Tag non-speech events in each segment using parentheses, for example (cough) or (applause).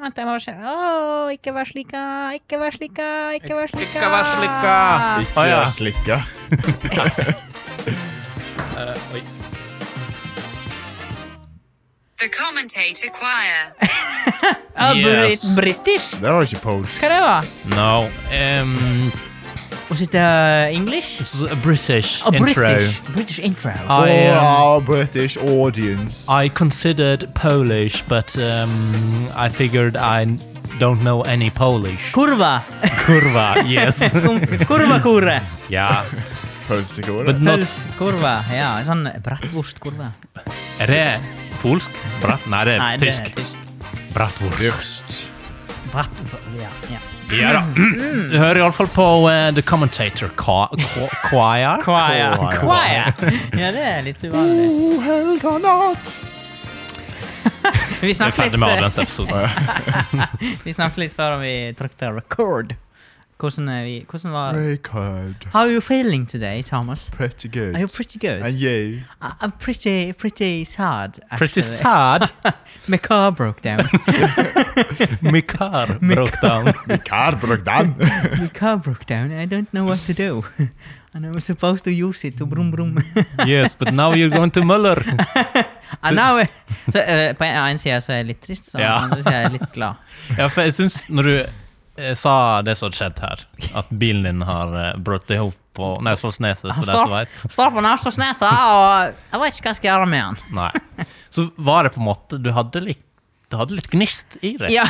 at jeg var sånn Å, ikke vær slika, ikke vær slika, ikke vær slika. Ikke vær ah.» slika. Ikke Ah, Å, ja. slikka. Eh, oi. The Commentator Choir. ah.» Ja, Yes. brit- British? Det var ikke polsk. Hva det var? No. Um, Was it uh, English? s- a British Oh, intro. British. British intro. I, For um, our ah, British audience. I considered Polish, but um, I figured I n- don't know any Polish. (laughs) Kurva. Kurva, yes. Kurva, kure. (laughs) yeah. Pølsekåre. But not Pøls, kurva. Ja, en sånn bratwurstkurve. Er det polsk? Brat? Nei, det Nei, er det tysk. er tysk. Bratwurst. Røst. Brat, ja, ja. Ja Mm. da. Du hører iallfall på eh, The Commentator Qua- Qua- Choir. Choir. Choir. Choir. Ja, det er litt uvanlig. O helga natt. Vi Vi er snakket ferdig med litt, Adrians episode. vi snakket litt før vi trykte record. Hvordan, er vi, hvordan var Record. How are you feeling today, Thomas? Pretty Are you good. pretty good? And you? I- I'm pretty, pretty sad, actually. Pretty sad. My car broke down. My car broke down. Mikael (laughs) Brogdan. My car broke down. I don't know what to do. (laughs) And I was supposed to use it to brum brum. Mm. Yes, but now you're going to Muller. (laughs) And now, eh, så, eh, på en side så er jeg litt trist, så på Ja. den andre siden er jeg litt glad. Ja, for jeg syns når du eh, sa det som hadde skjedd her, at bilen din har eh, brutt ihop på Ah, Naustdalsneset, for de som vet. står på Namsåsnesa, og jeg vet ikke hva jeg skal gjøre med han. Nei. Så var det på en måte Du hadde litt, du hadde litt gnist i det. Ja.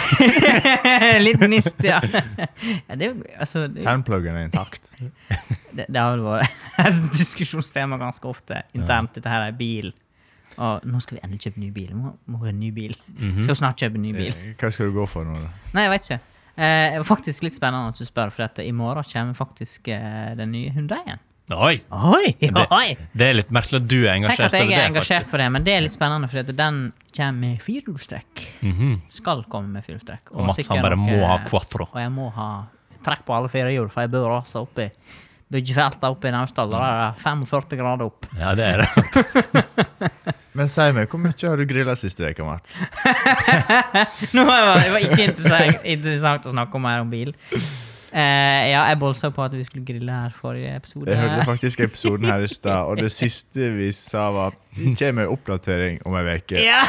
(laughs) litt gnist, ja. (laughs) ja det, er jo- altså, det, Tannpluggen (laughs) er intakt. det, det har vel vært et (laughs) diskusjonstema ganske ofte internt. Dette her er bil. Og nå skal vi endelig kjøpe ny bil. Vi Må, må ha en ny bil. Mhm. Skal jo snart kjøpe en ny bil. Eh, Hva skal du gå for nå, da? Nei, jeg vet ikke. Eh, det var faktisk litt spennende at du spør, for at i morgen kommer faktisk eh, den nye Hundeien. Oi! (laughs) Oi, Det- oi. Det er litt merkelig at du er Tenk engasjert at jeg er over det. engasjert for det, men det er litt spennende, for at den kommer med firehjulstrekk. Mhm. skal komme med fulltrekk. Og Mats han sikkert eh, bare noe- må ha quattro. Og jeg må ha trekk på alle fire hjul, for jeg bor også oppe i byggefeltet oppe i Naustdal. Der er det 45 grader opp. (laughs) Ja, det er det. Men si meg, hvor mye har du grilla siste uke, Mats? Nå var det var ikke interessant, (laughs) interessant å snakke om mer om bil. Eh, ja, jeg bolsa på at vi skulle grille her forrige episode. Jeg hørte faktisk episoden her i stad, og det siste vi sa, var det kommer en oppdatering om ei uke. Ja.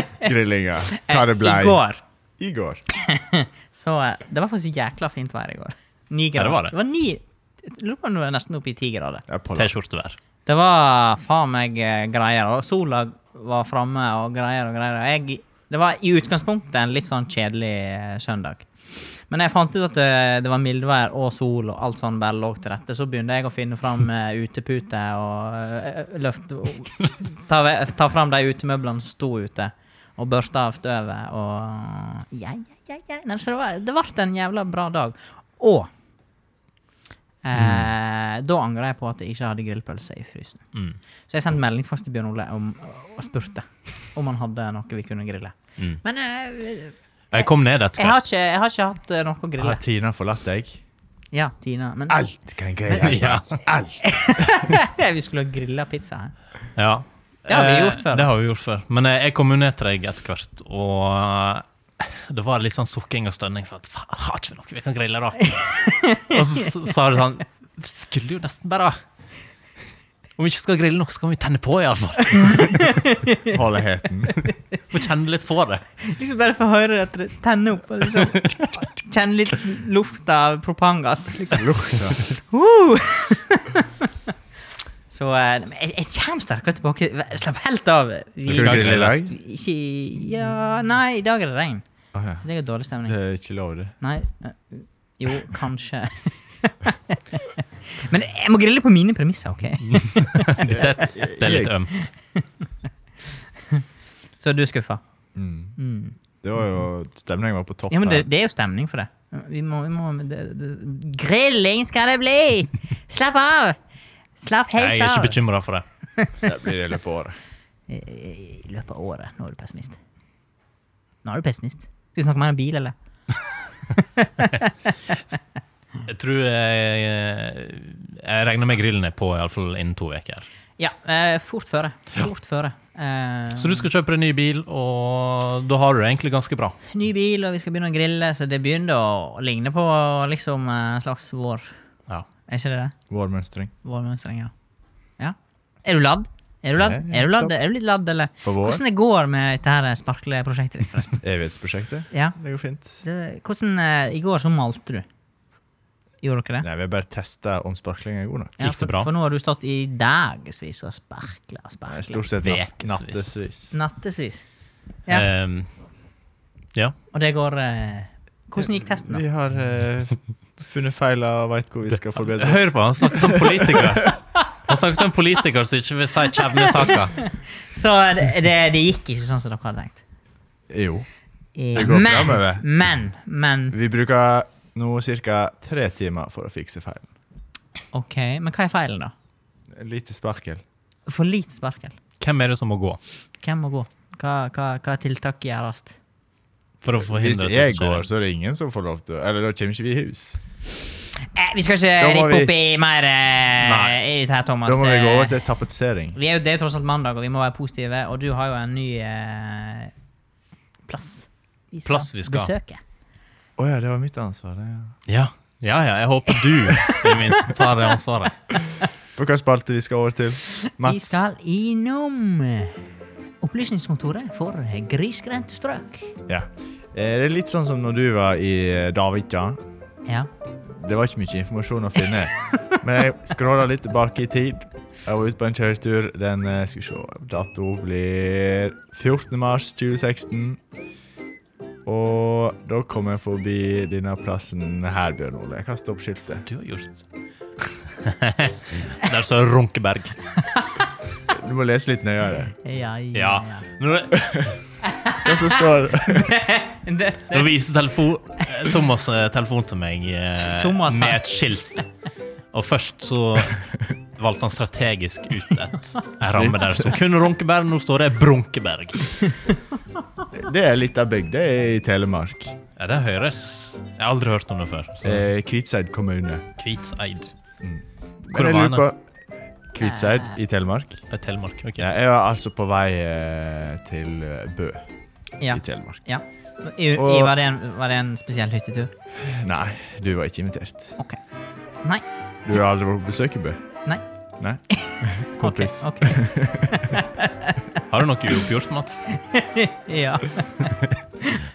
(laughs) (laughs) Grillinga. Hva det ble. Eh, I går. I går. Så eh, det var faktisk jækla fint vær i går. Ni Ja, grader. det var det. var ni, jeg lurer på om det var nesten oppe i ti grader. Ja, på landet. T-skjortevær. Det var faen meg eh, greier. Og sola var framme og greier og greier. Og Jeg, det var i utgangspunktet en litt sånn kjedelig eh, søndag. Men jeg fant ut at det, det var mildvær og sol og alt sånn bare lå til rette. Så begynte jeg å finne fram eh, utepute og eh, løfte ta, ve- ta fram de utemøblene som sto ute. Og børsta av støvet og ja, ja, ja, ja. Nei, så det, var, det ble en jævla bra dag. Og eh, da angrer jeg på at jeg ikke hadde grillpølse i frysen. Mm. Så jeg sendte melding faktisk til Bjørn Ole om, og spurte om han hadde noe vi kunne grille. Mm. Men eh, Jeg kom ned etter jeg, har hvert. ikke, jeg har ikke hatt eh, noe å grille. Har Tina forlatt deg? Ja, Tina. Men (laughs) Alt kan greies, Ja. Mats. Alt. vi skulle ha grilla pizza her. Ja. Det har vi Eh, gjort før. Det har vi gjort før. Men eh, jeg kom jo ned til deg etter hvert, og eh, det var litt sånn sukking og stønning for at faen, har ikke vi noe vi kan grille, (laughs) da? og så s- sa du sånn Skulle jo nesten bare Om vi ikke skal grille noe, så kan vi tenne på, iallfall. Holde (laughs) heten. (laughs) Få kjenne litt på det. (laughs) Liksom bare få høre at det tenner opp. og (laughs) Liksom. Kjenne litt luft av propangass. (laughs) Liksom. Lukta. Uh! (laughs) Så eh, men jeg, jeg kommer sterkere tilbake. Vær- Slapp helt av. eh, Vi, Skal du grille i dag? ikke, ja, nei, i dag er det regn. Å, ja. Så det er jo dårlig stemning. Det er ikke lov, det. Nei eh, Jo, kanskje. (laughs) Men jeg må grille på mine premisser, Mm. OK? Det, det er litt ømt. Så du er skuffa? Mm. Mm. Det var jo Stemningen var på topp. Ja, men det, her. det er jo stemning for det. Vi må, vi må det, det, Grilling skal det bli! Slapp av! Slapp Jeg helt er av! ikke bekymra for det. det blir det i løpet av året. I i løpet av året. Nå er du pessimist. Nå er du pessimist. Skal vi snakke mer om bil, eller? Jeg tror jeg, jeg regner med grillen er på iallfall innen to uker. Ja, eh, fort føre. Fort føre. Eh, Så du skal kjøpe deg ny bil, og da har du det egentlig ganske bra. Ny bil, og vi skal begynne å grille, så det begynner å ligne på liksom eh, en slags vår. Ja. Er ikke det det? Vårmønstring. Vårmønstring, ja. ja. Er du ladd? Er du ladd? Ja, ja, Er du, ladd? topp. Er du litt ladd, eller? For vår. Hvordan det går med dette her sparkleprosjektet ditt, forresten? (laughs) Evighetsprosjektet. Ja. Det går fint. Det, hvordan eh, I går så malte du. Gjorde dere det? Nei, vi har bare testa om sparklinga er god nok. Gikk det for, bra? For nå har du stått i dagevis og sparkla og Nei, sparkla. Stort sett natt, Vekesvis. nattesvis. Nattesvis. Ja. Ehm, ja. Og det går eh, Hvordan gikk testen, Vi da? har eh, funnet feiler og veit hvor vi skal forbedre Hør på han snakker som politiker. (laughs) Han snakker som politiker som ikke vil si kjevnesaka. Så det, det, det gikk ikke sånn som dere hadde tenkt. Jo. Eh, Det går Men, fremover. men, men Vi bruker nå ca. tre timer for å fikse feilen. OK. Men hva er feilen, da? Lite sparkel. For lite sparkel. Hvem er det som må gå Hvem må gå? Hva, hva, hva tiltak gjøres? for å Hvis forhindre at det jeg skjer? går, så er det ingen som får lov til å Eller da kommer ikke vi i hus. Eh, vi skal Da ikke må rippe vi- opp i mer eh, i Nei. dette her, Thomas. Da må vi gå over Eh, til tapetsering. Vi er jo, det er jo tross alt mandag, og vi må være positive. Og du har jo en ny eh, plass. Vi Plass vi skal. besøke. Å ja, det var mitt ansvar. det, Ja. Ja. ja, ja. Jeg håper du i minst tar det ansvaret. For hva spalte vi skal over (laughs) til? Vi Mats? skal innom eh, Opplysningskontoret for grisgrendte strøk. Ja. Eh, Det er litt sånn som når du var i eh, Davika. Ja. Det var ikke mye informasjon å (laughs) finne. Men jeg scrolla litt tilbake i tid. Jeg var ute på en kjøretur. Den eh, skal vi se, dato blir 14. mars 2016. Og da kom jeg forbi denne plassen her, Bjørn Ole. Hva står på skiltet? Du har gjort (laughs) Der står Runkeberg. Du må lese litt nøyere. Ja, ja, Ja. ja. Nå, Hva som står Det, nå viser telefon, Thomas eh, telefon til meg eh, (laughs) Thomas, han- med et skilt. Og først så valgte han strategisk ut (laughs) et en ramme der det sto kun Runkeberg. Nå står det Brunkeberg. (laughs) Det er litt av bygda i Telemark. Ja, Det høres Jeg har aldri hørt om det før. Så Eh, Kvitseid kommune. Kvitseid. Men Hvor jeg var lurer det? på Kvitseid i Telemark? Eh, Telemark. ok. Ja, jeg var altså på vei eh, til eh, Bø ja. i Telemark. ja. I, i, Og- var, det en, var det en spesiell hyttetur? Nei, du var ikke invitert. OK. Nei. Du har aldri vært på besøk i Bø? Nei. Nei? (laughs) OK. Kompis. ok. Har du noe uoppgjort, Mats? (laughs) Ja.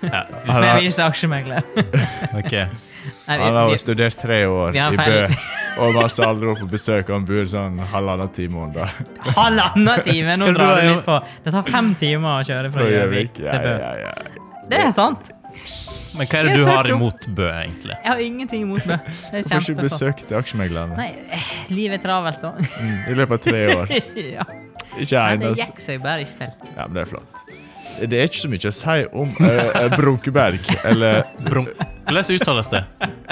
Ja. Men jeg er ikke aksjemegler. ok. Nei, vi- Han har vi- jo studert tre år vi har i Bø. feil. (laughs) Og var altså aldri vært på besøk, og han bor sånn halvannen time unna. Halvannen time! Nå Hva drar da, du jo? litt på. Det tar fem timer å kjøre fra (laughs) Fra Gjøvik Gjøvik. til Ja, Bø. ja, ja. Det er sant. Men hva er det Jeg du har søkte opp- imot Bø, egentlig? Jeg har ingenting imot Bø. Det er Hvorfor ikke kjempeflott. besøk til aksjemeglerne Nei, eh, livet er travelt, da. mm, i løpet av tre år? (laughs) ja. Ikke Nei, det eneste. gikk seg bare ikke til. Ja, men det er flott. Det er ikke så mye å si om eh, eh, Brunkeberg, eller Brunk... Hvordan uttales det?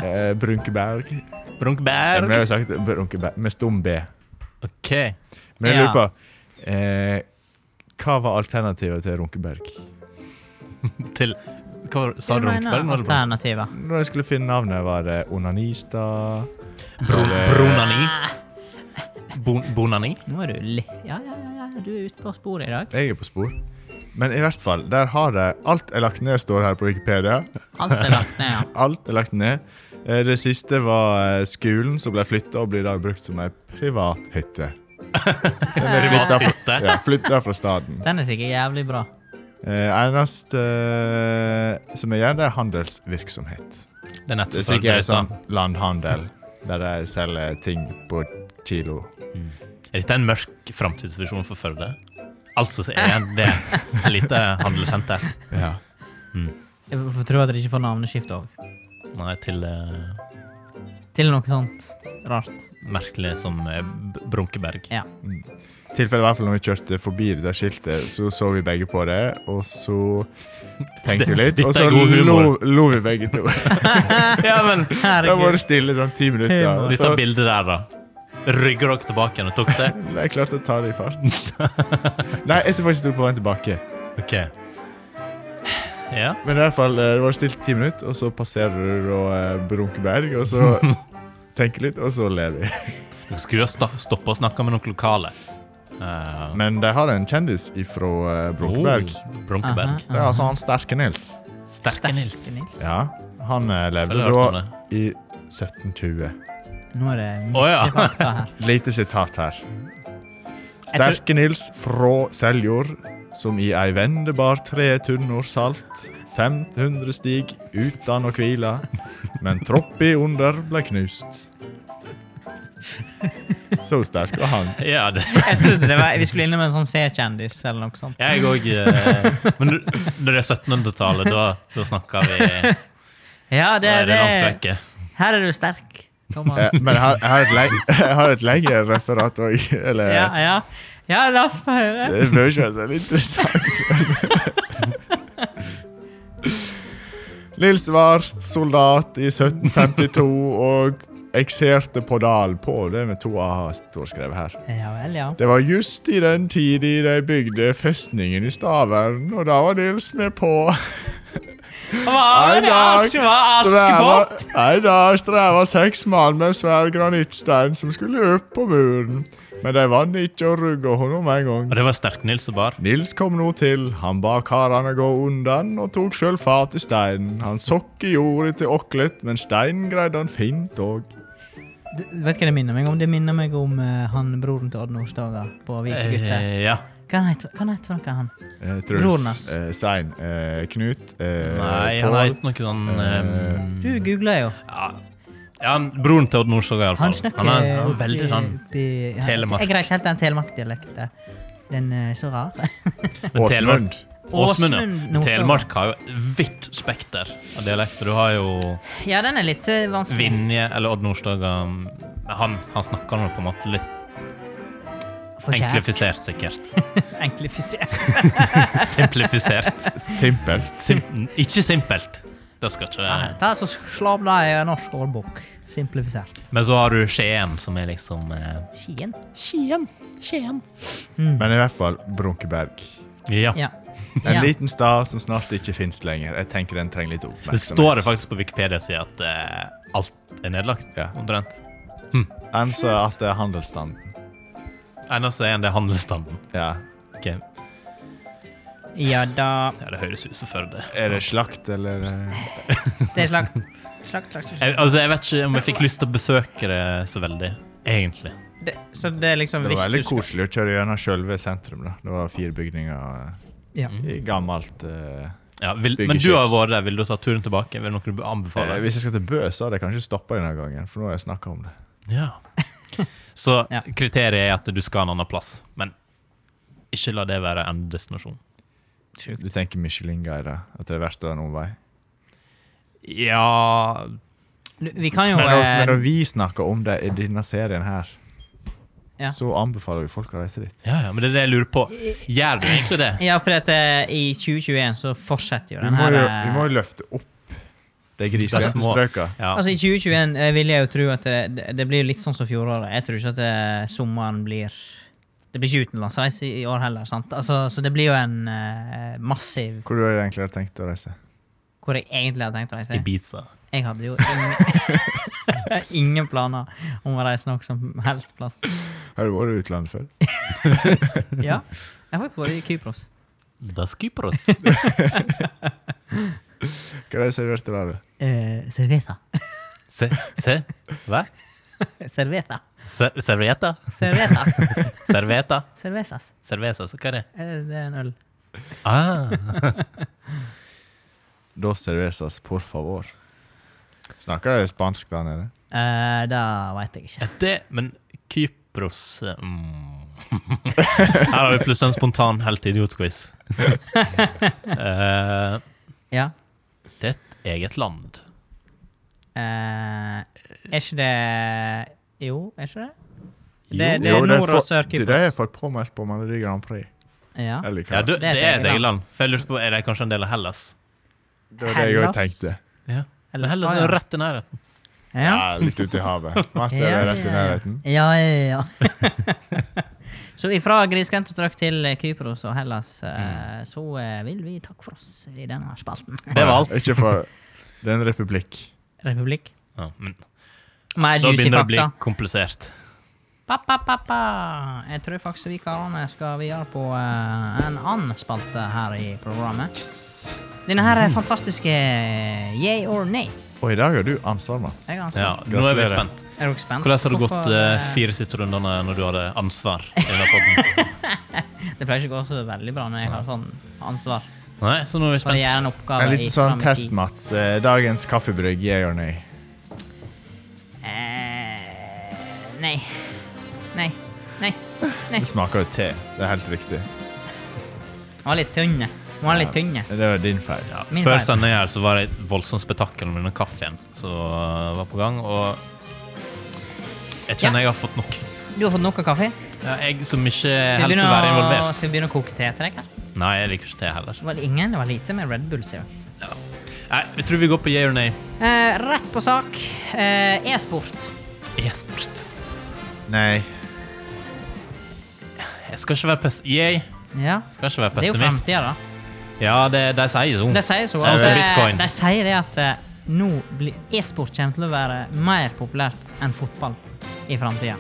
eh, Brunkeberg. Men vi har Brunkberg? jo sagt Brunkeberg med stum B. OK. Men jeg Ja. lurer på eh, Hva var alternativet til Runkeberg? Til Hva var- sa du? Jeg mener Brunkberg? nå er det Brun- Alternativer. Når jeg skulle finne navnet, var det Onanista Bru- eller- Brunani? Bon bonani? Nå er du litt Ja, ja, ja, ja, du er ute på sporet i dag. Jeg er på spor. Men i hvert fall, der har de Alt er lagt ned, står her på Wikipedia. Alt er lagt ned, ja. Alt er lagt ned. Eh, Det siste var eh, skolen, som ble flytta og blir i dag brukt som ei privat (laughs) hytte. Den er flytta fra, hytte? ja, flyttet fra staden. Den er sikkert jævlig bra. Eh, eneste eh, som er igjen, det er handelsvirksomhet. Det er Det er nettopp sikkert det. en sånn landhandel, der de selger ting på kilo. Er dette en mørk framtidsvisjon for Førde? Altså så er det et lite handelssenter. Ja. Jeg får tro at dere ikke får navneskift òg. Nei, til eh, Til noe sånt rart. merkelig som eh, B- Brunkeberg. Ja. Tilfellet i hvert fall når vi kjørte forbi det der skiltet, så så vi begge på det, og så tenkte (laughs) vi litt, Dette og så er god lo, humor. lo vi begge (laughs) to. Ja, (laughs) men Da var Herregud. det stille sånn ti Humor. minutter. dette Så bildet der, da. Rygger dere tilbake igjen og tok det? jeg klarte å ta det i farten. (laughs) Nei, jeg tror faktisk du var på vei tilbake. OK. Ja. Men i hvert fall, eh, det var stille ti minutter, og så passerer du da eh, Brunkeberg, og (laughs) så tenker litt, og så ler vi. Dere skulle jo sta- stoppe og snakke med noen lokale. Eh, Men de har en kjendis ifra eh, Brokeberg. oh, Brunkeberg. Det er altså han Sterke Nils. Sterke Nils. Sterke Nils. Ja, han eh, levde Føler jeg har hørt da om i 1720. Nå er det mye Å ja. fakta (laughs) her. Lite sitat her. tror- Sterke Nils fra Seljord, som i ei vende bar tre tunnor salt, 500 stig utan å kvila, men troppi under ble knust. Så sterk var han. ja det. Jeg trodde det var, vi skulle innom en sånn C-kjendis eller noe sånt. Jeg òg. Men du- når det er 1700-tallet, da, da snakker vi Da Ja, det, er det langt det, vekke. her er du sterk, Eh, Thomas. Men jeg har, jeg har et leng- (laughs) jeg har et lengre referat òg. Eller Ja, ja. ja la oss få høre. Det bør ikke være så interessant. Nils var soldat i 1752 og ekserte på Dal på det med to a-er står skrevet her. Ja vel, ja. Det var just i den tida de bygde festningen i Stavern, og da var Nils med på. Hva var det? Asj, var Askepott? En dag streva seks mann med en svær granittstein som skulle opp på muren, men de vant ikke å rugge henne med en gang. Og det var Sterk-Nils som bar. Nils kom nå til, han ba karene gå undan og tok sjøl fat i steinen. Han sokk i jorda til åklet, men steinen greide han fint òg. Du, vet hva det minner meg om? Det minner meg om eh, han broren til Odd Nordstoga på Vikegutter. Eh, ja. Hva han heter hva han? heter for noe, han? Eh, Jonas. Truls, eh, Svein, eh, Knut eh, Nei, han Pål. het noe sånn Du eh, googla jo. ja. ja, broren til Odd Nordstoga, Altså, Han iallfall. snakker Han er han er veldig sånn oppi- ja, Telemark. Jeg greier ikke helt den telemarkdialekten. Den eh, er så rar. (laughs) men Telemark- Åsmund. Åsmund, Åsmund ja. Nordstoga. Telemark har jo vidt spekter av dialekter. Du har jo ja, den er litt eh, vanskelig. Vinje eller Odd Nordstoga Han, han snakker nå på en måte litt For kjær. enklifisert, sikkert. (laughs) Enklifisert. Simplifisert. Simpelt. Sim ikke simpelt. Det skal ikke Ja, være. Ta så Slå opp det i en norsk ordbok. Simplifisert. Men så har du Skien, som er liksom eh, Skien. Skien. Skien. Men i hvert fall Brunkeberg. Ja. Ja. En ja. liten stad som snart ikke fins lenger. Jeg tenker den trenger litt Det oppmerksomhet. står det faktisk på Wikipedia-sida at eh, alt er nedlagt. Ja. Omtrent. Han sa at det er handelsstanden. Eneste er en det er handelsstanden. Ja. Ok. Ja, ja da. det høres ut som Førde. Er det slakt, eller eh, Det er slakt. Slakt, slakt, slakt. Jeg, altså, jeg vet ikke om jeg fikk lyst til å besøke det så veldig, egentlig. Det, så det er liksom Det var hvis du veldig skal- koselig å kjøre gjennom sjølve sentrum. da. Det var fire bygninger. eh, Ja. I gammelt eh, Ja, vil, Bygge men du kjøp. har vært der. Vil du ta turen tilbake? Vil noe du eh, anbefaler? Hvis jeg skal til Bø, så hadde jeg kanskje stoppa denne gangen, for nå har jeg snakka om det. Ja. Så Ja. kriteriet er at du skal en annen plass, men ikke la det være endedestinasjon. Sjukt. Du tenker Michelin-guider, at det er verdt å ha noen vei. Ja Du, Vi kan jo Men når, eh, men når vi snakker om det i denne serien her, Ja. så anbefaler vi folk å reise dit. Ja, ja, men det er det jeg lurer på. Gjør du egentlig det? Ja, for at, eh, i 2021 så fortsetter jo Vi den må her jo, eh, vi må jo løfte opp de grisgrendte små. strøka. Ja. Altså I 2021 eh, vil jeg jo tro at det, det- det blir litt sånn som fjoråret. Jeg tror ikke at eh, sommeren blir Det blir ikke utenlandsreise i i år heller. sant? Altså, så det blir jo en eh, massiv Hvor du har egentlig tenkt å reise? Hvor jeg egentlig hadde tenkt å reise. Ibiza. Jeg hadde jo ingen, ingen (laughs) planer om å reise noe som helst plass. Har du vært i utlandet før? Ja, Jeg har faktisk vært i Kypros. Da Skypros. Hva er det jeg serverte der? da? Eh, Serveta. Se, se. Hva? Serveta. Ser, servieta? Serveta. Serveta? Cervezas. Cerveza, så hva er det? Eh, Det er en øl. Ah. Dos cervezas, por favor. Snakker jeg spansk der nede? Eh, det veit jeg ikke. Er det Men Kypros eh, mm. (laughs) Her har vi plutselig en spontan helt idiot-quiz. (laughs) Eh, Ja. det er et eget land. Eh, er ikke det Jo, er ikke det? Det, Jo. det er Jo, Nord- og for- Sør-Kypros. Det er for påmeldt på Melodi Grand Prix. Ja. Eller hva? Ja, du, Det det er et eget er et land. eget land. For jeg lurer på, Er det kanskje en del av Hellas? det var det jeg Hellas. òg tenkte. Ja. Eller- Men Hellas ah, er ja. jo sånn rett i nærheten. Ja. Ja, litt ute i havet. Mats er Ja, rett i ja, nærheten. Ja, ja, (laughs) ja. så ifra grisgrendte strøk til Kypros og Hellas, Mm. eh, så eh, vil vi takke for oss i denne spalten. Det var alt. Ikke for Det er en republikk. (laughs) Republikk. Ja, men Mer da juicy begynner det å bli fakta. komplisert. Pappa, pappa! Jeg tror faktisk vi karene skal videre på eh, en annen spalte her i programmet. Denne her Mm. er fantastiske eh, yay or nay. Og i dag har du ansvar, Mats. Jeg har Ja, ansvar. nå er vi Gratulerer. spent. Er dere spent? Hvordan har det gått Hvorfor, eh, eh, fire siste rundene når du hadde ansvar? i denne (laughs) podden? Det pleier ikke å gå så veldig bra når jeg har sånn ansvar. Nei, så nå er vi For å gjøre spent. en oppgave En i liten sånn fram i test, tid. Mats. Eh, Dagens kaffebrygg, yeah or nay? Eh, nei. Nei. Nei. Nei. Det smaker jo te. Det er helt riktig. Den var litt tynn. Den var litt tynn. Ja, det var din feil. Ja, Min før feil. sending her så var det et voldsomt spetakkel med den kaffen som eh, var på gang, og Ja. jeg kjenner jeg har fått nok. Du har fått nok av kaffe. Ja, jeg som ikke Skal vi helst vil begynne, være å- involvert. skal vi begynne å koke te til deg? eller? Nei, jeg liker ikke te heller. Det var ingen, det var lite med Red Bull, sier jeg. Ja. Nei, vi tror vi går på yeah or nay. Eh, rett på sak. Eh, E-sport. E-sport. Nei. Jeg skal ikke være pes... Yay. Ja. Skal ikke være Det er jo pessimist. fremtida, da. Ja, det, de sier jo. De sier så. Sånn som at, eh, bitcoin. De sier det at eh, nå blir e-sport kommer til å være mer populært enn fotball i framtida.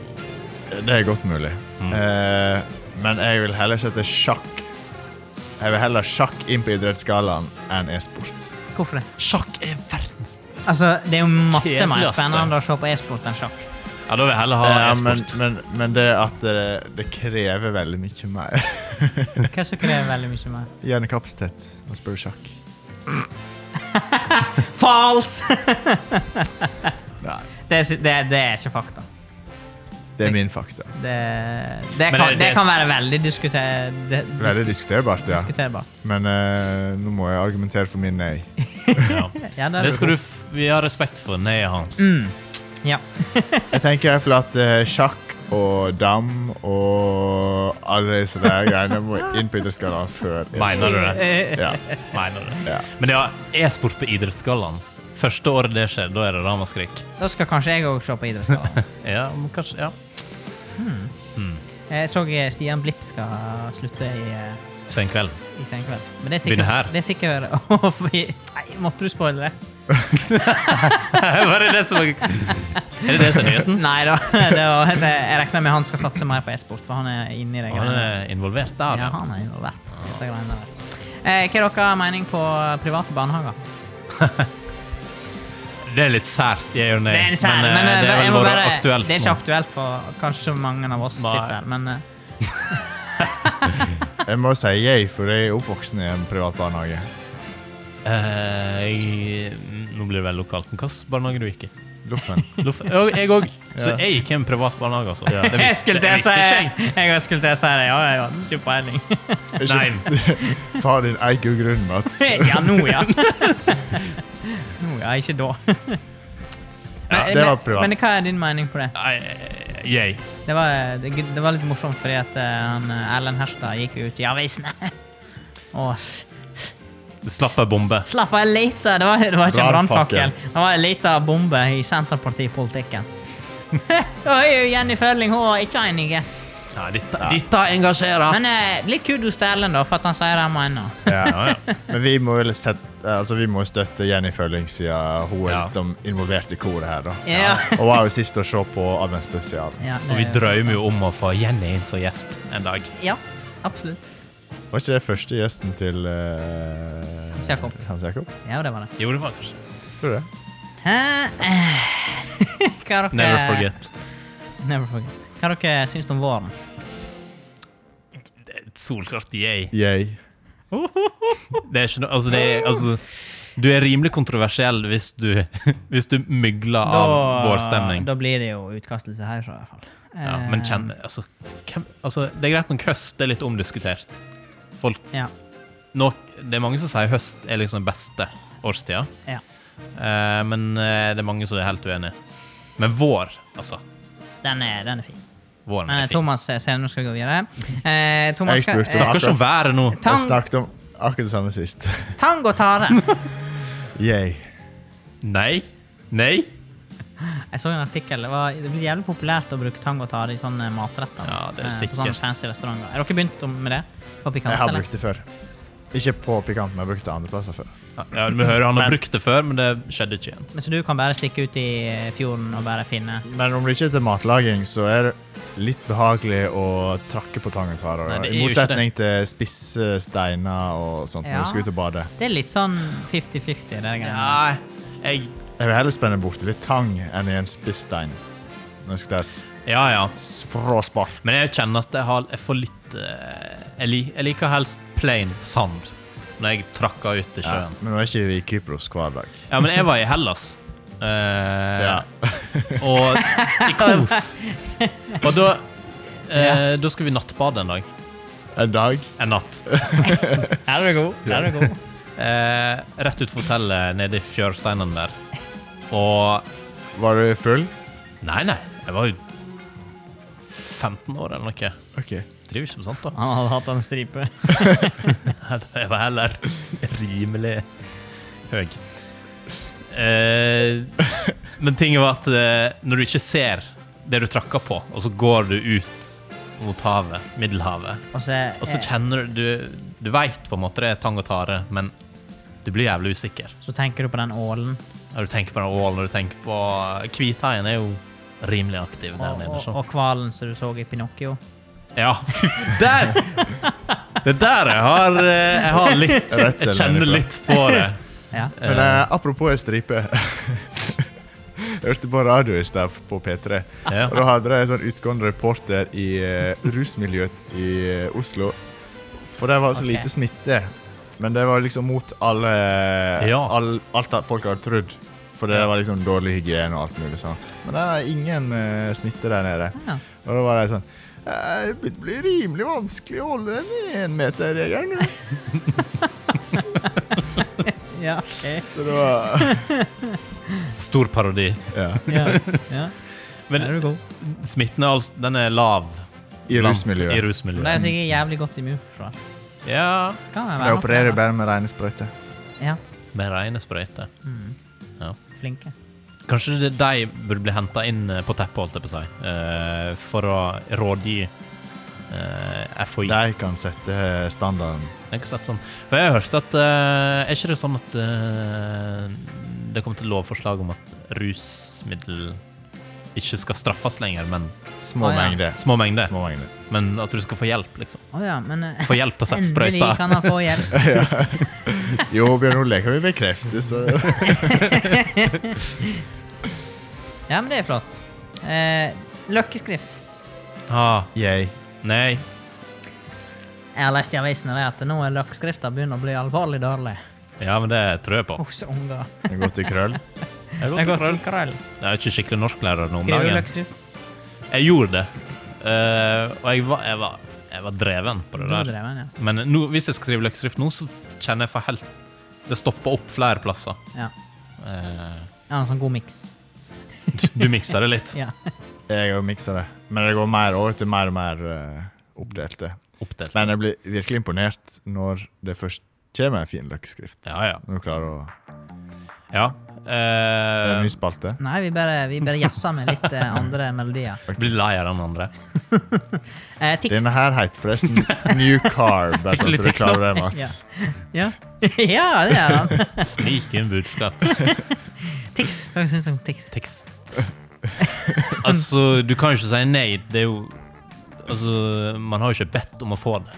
Det er godt mulig. Mm. Eh, men jeg vil heller sette sjakk Jeg vil heller sjakk inn på idrettsgallaen enn e-sport. Hvorfor det? Sjakk er verdens Altså, det er jo masse mer Kjedeligste. spennende å se på e-sport enn (laughs) sjakk. Ja, da vil jeg heller ha Eh, men, Ah, e-sport. men, men det at det, det krever veldig mye mer (laughs) Hva som krever veldig mye mer? hjernekapasitet å spille sjakk. Fals! (laughs) Nei, Det, er- det, det er ikke fakta. det er min fakta. Det, det, Men kan, det- det det- kan være veldig diskuter, det, Veldig dis, diskuterbart, ja. diskuterbart. Men eh, nå må jeg argumentere for min nei. ja. Ja, det er Det du skal du god. f Vi har respekt for nei hans. Ja. (laughs) Jeg tenker i hvert fall at eh, sjakk og dam og alle disse der greiene må inn på idrettsgallaen før. Mener du det? Eh, Ja. Mener du det? Ja. Men ja, e-sport på idrettsgallaen. Første året det skjer, da er det ramaskrik. Da skal kanskje jeg òg se på idrettsgallaen. Ja, men kanskje Ja. Jeg så eh, Stian Blipp skal slutte i eh, Sen kveld. (laughs) i senkveld. Men det er Begynne sikkert, her. Det er sikkert (laughs) Å, fy- Nei, måtte du spoile det? Var det det som var Er det det som er nyheten? (laughs) Nei da. (laughs) Det var, det, jeg regner med han skal satse mer på e-sport, for han er inne i det. Han greiene. er involvert der, Ja, ja. han er involvert. i dette greiene der. Eh, hva er deres mening på private barnehager? Det er litt sært, jeg gjør nei. Det er, sær, eh, men, eh, det er jeg vel må bare bare- aktuelt Det er ikke nå. aktuelt for kanskje mange av oss som Nei. sitter her, men eh, Jeg må si yay, for jeg er oppvoksen i en privat barnehage. Eh, jeg- Nå blir det vel lokalt. Men hvilken barnehage du gikk i? Loffen. Loff- Ja, Jeg òg. Så Ja. jeg gikk i en privat barnehage, altså. (laughs) jeg Det visste- skulle til å det si visste ikke jeg. jeg. (laughs) jeg skulle til å si det. Ja, jeg hadde ikke peiling. (laughs) Nei. (laughs) Far din eier jo grunnen, Mats. Ja, (laughs) nå, ja. Nå, ja. Ikke da. Ja, Men- det var men- privat. Men hva er din mening på det? Nei, eh, jeg. Det var, det, det var litt morsomt, fordi at eh, han, eh, Erlend Herstad gikk jo ut i (laughs) avisene. Og s- Slapp ei bombe. slapp av, en liten Det var, det var ikke en Brannfakkel. brannfakkel. Det var en liten bombe i Senterpartipolitikken. (laughs) Det var jo Jenny Følling hun var ikke enig. Nei, dette, dette engasjerer. Men eh, litt kudos til Erlend, da, for at han sier det han mener. Ja. ja, ja. Men vi må jo sette, altså, vi må jo støtte Jenny Følling, siden hun er Ja. liksom involvert i koret her. da. Ja. Og hun er jo sist å se på Adventsspesialen. Ja, det- Og vi drømmer jo om å få Jenny inn som gjest en dag. Ja, absolutt. Var ikke det første gjesten til eh, Hans Jakob. Hans Jakob? Ja, det var det. Jo, det var kanskje. Tror du det? Eh, eh, (laughs) Hva dere Never forget. Never forget. Hva dere syns om våren? Solklart yay. Yay. Det er ikke noe Altså, det er Altså, du er rimelig kontroversiell hvis du, (laughs) hvis du mygler av vårstemning. Da blir det jo utkastelse herfra, i hvert fall. Ja, Eh, men kjenn altså, hvem, altså, det er greit med høst, det er litt omdiskutert. Folk Eh, Ja. nå- Det er mange som sier høst er liksom den beste årstida, ja. eh, men eh, det er mange som er helt uenige. Men vår, altså. Den er, den er fin. Våren Men er eh, fin. Thomas eh, ser nå skal gå videre. Eh, Thomas Jeg skal- spurte eh, da. Stakkars om været nå. Jeg tang, snakket om akkurat det samme sist. (laughs) tang og tare. Yay. Nei. Nei. Jeg så en artikkel. Det, var, det blir jævlig populært å bruke tang og tare i sånne matretter. Ja, det er eh, På sikkert. sånne fancy restauranter. Er dere begynt om- med det? På pikant, Jeg har eller? brukt det før. Ikke på pikant, men jeg har brukt det andre plasser før. Ja, vi hører han har brukt det før, men det skjedde ikke igjen. Men Så du kan bare stikke ut i eh, fjorden og bare finne Men om det ikke er til matlaging, så er det litt behagelig å trakke på tang og tare. Nei, det er I jo ikke det. motsetning til spisse steiner og sånt Ja. når du skal ut og bade. Det er litt sånn 50-50, det der greiene. Nei, jeg Jeg vil heller spenne borti litt tang enn i en spiss stein. Når jeg skal ta et Ja, ja. s- fråspark. Men jeg kjenner at jeg, har, jeg får litt eh, jeg, lik, jeg liker helst plain sand når jeg trakker ut i Ja. sjøen. Men nå er ikke vi i Kypros hver dag. Ja, men jeg var i Hellas. eh, Ja. (laughs) Og i Kos. Og da eh, Da skal vi nattbade en dag. En dag. En natt. Her er du god. Her er du god. Eh, rett ut for hotellet nede i fjørsteinene der. Og Var du full? Nei, nei. Jeg var jo 15 år eller noe. OK. Driver ikke med sånt, da. Han hadde hatt en stripe. (laughs) Jeg var heller rimelig høy. Eh, men tinget var at eh, når du ikke ser det du trakker på, og så går du ut mot havet, Middelhavet, Og så, (laughs) og så eh, kjenner du Du, du veit på en måte det er tang og tare, men du blir jævlig usikker. så tenker du på den ålen. Når du tenker på den ålen, når du tenker på eh, Hvithaien er jo rimelig aktiv der Og, nede. og, så. og hvalen som du så i Pinocchio. Ja, (laughs) fy, der! Det er der jeg har, eh, jeg har litt Jeg Redsel kjenner herifra. litt på det. Ja. Men eh, apropos ei stripe. (laughs) Jeg hørte på radio i sted på P3. Ja. Og da hadde de en sånn utgående reporter i eh, rusmiljøet i eh, Oslo. For det var så Ok. lite smitte. Men det var liksom mot alle, eh, Ja. all, alt det folk hadde trodd. For det Ja. var liksom dårlig hygiene og alt mulig sånn. Men det er ingen eh, smitte der nede. Ja. Og da var de sånn «Eh, Det blir rimelig vanskelig å holde den énmeterregelen. nå». Ja, ok. Så det var (laughs) Stor parodi. ja. Ja. Ja. Men Der er du god. smitten er altså, den er lav. I blant- rusmiljøet. I Men det er rusmiljøet. sikkert jævlig godt immunforsvar. Ja, Kan det De være opererer noe? bare med rene sprøyter. Ja. Mm. med rene sprøyter. Flinke. Kanskje det- de burde bli henta inn eh, på teppet, holdt jeg på å si, eh, for å rådgi eh, FHI. De kan sette eh, standarden. Jeg har ikke sett sånn. For jeg har hørt at eh, Er ikke det sånn at eh, det kommer til lovforslag om at rusmiddel ikke skal straffes lenger, men Små Ah, ja. mengder. små mengder? Små mengder. Men at du skal få hjelp, liksom. Å ja, men (laughs) eh, Få hjelp til å sette sprøyta. (laughs) Endelig kan han (laughs) få hjelp. Jo, Bjørn Ole kan vi bekrefte, (laughs) så Ja, men det er flott. Eh, løkkeskrift. Ah, Yay. nei. Jeg har lest i avisen det at nå er løkkeskrifta begynner å bli alvorlig dårlig Ja, men det tror jeg på. hos unger. Kan gå til krøll. Jeg har Det gått går til krøll. til krøll. Jeg er ikke skikkelig norsklærer nå om Skriver du dagen. løkkeskrift? Jeg gjorde det. Eh, og jeg var, jeg, var, jeg var dreven på Du det der. drev den, Men nå, hvis jeg skriver løkskrift nå, så kjenner jeg for helt Det stopper opp flere plasser. ja. ja. Eh, Ja, en sånn god miks. du, du mikser det litt. Ja. Jeg har miksa det. Men det går mer over til mer og mer eh, oppdelte. Oppdelt. Men jeg blir virkelig imponert når det først kommer en fin løkkeskrift. Ja, ja. Når du klarer å ja. Det er en Eh, ny spalte. Nei, vi bare, vi bare jazzer med litt eh, andre melodier. jeg blir lei av den andre. Eh, tics. Denne her heter forresten New Carb. (laughs) Bare Fikk du sånn litt at du tics nå? klarer det, Mats. Ja. (laughs) ja, det er han. Snik inn budskap. Tics. Hva syns du om tics? (laughs) Tics. Altså, du kan jo ikke si nei. Det er jo Altså, man har jo ikke bedt om å få det.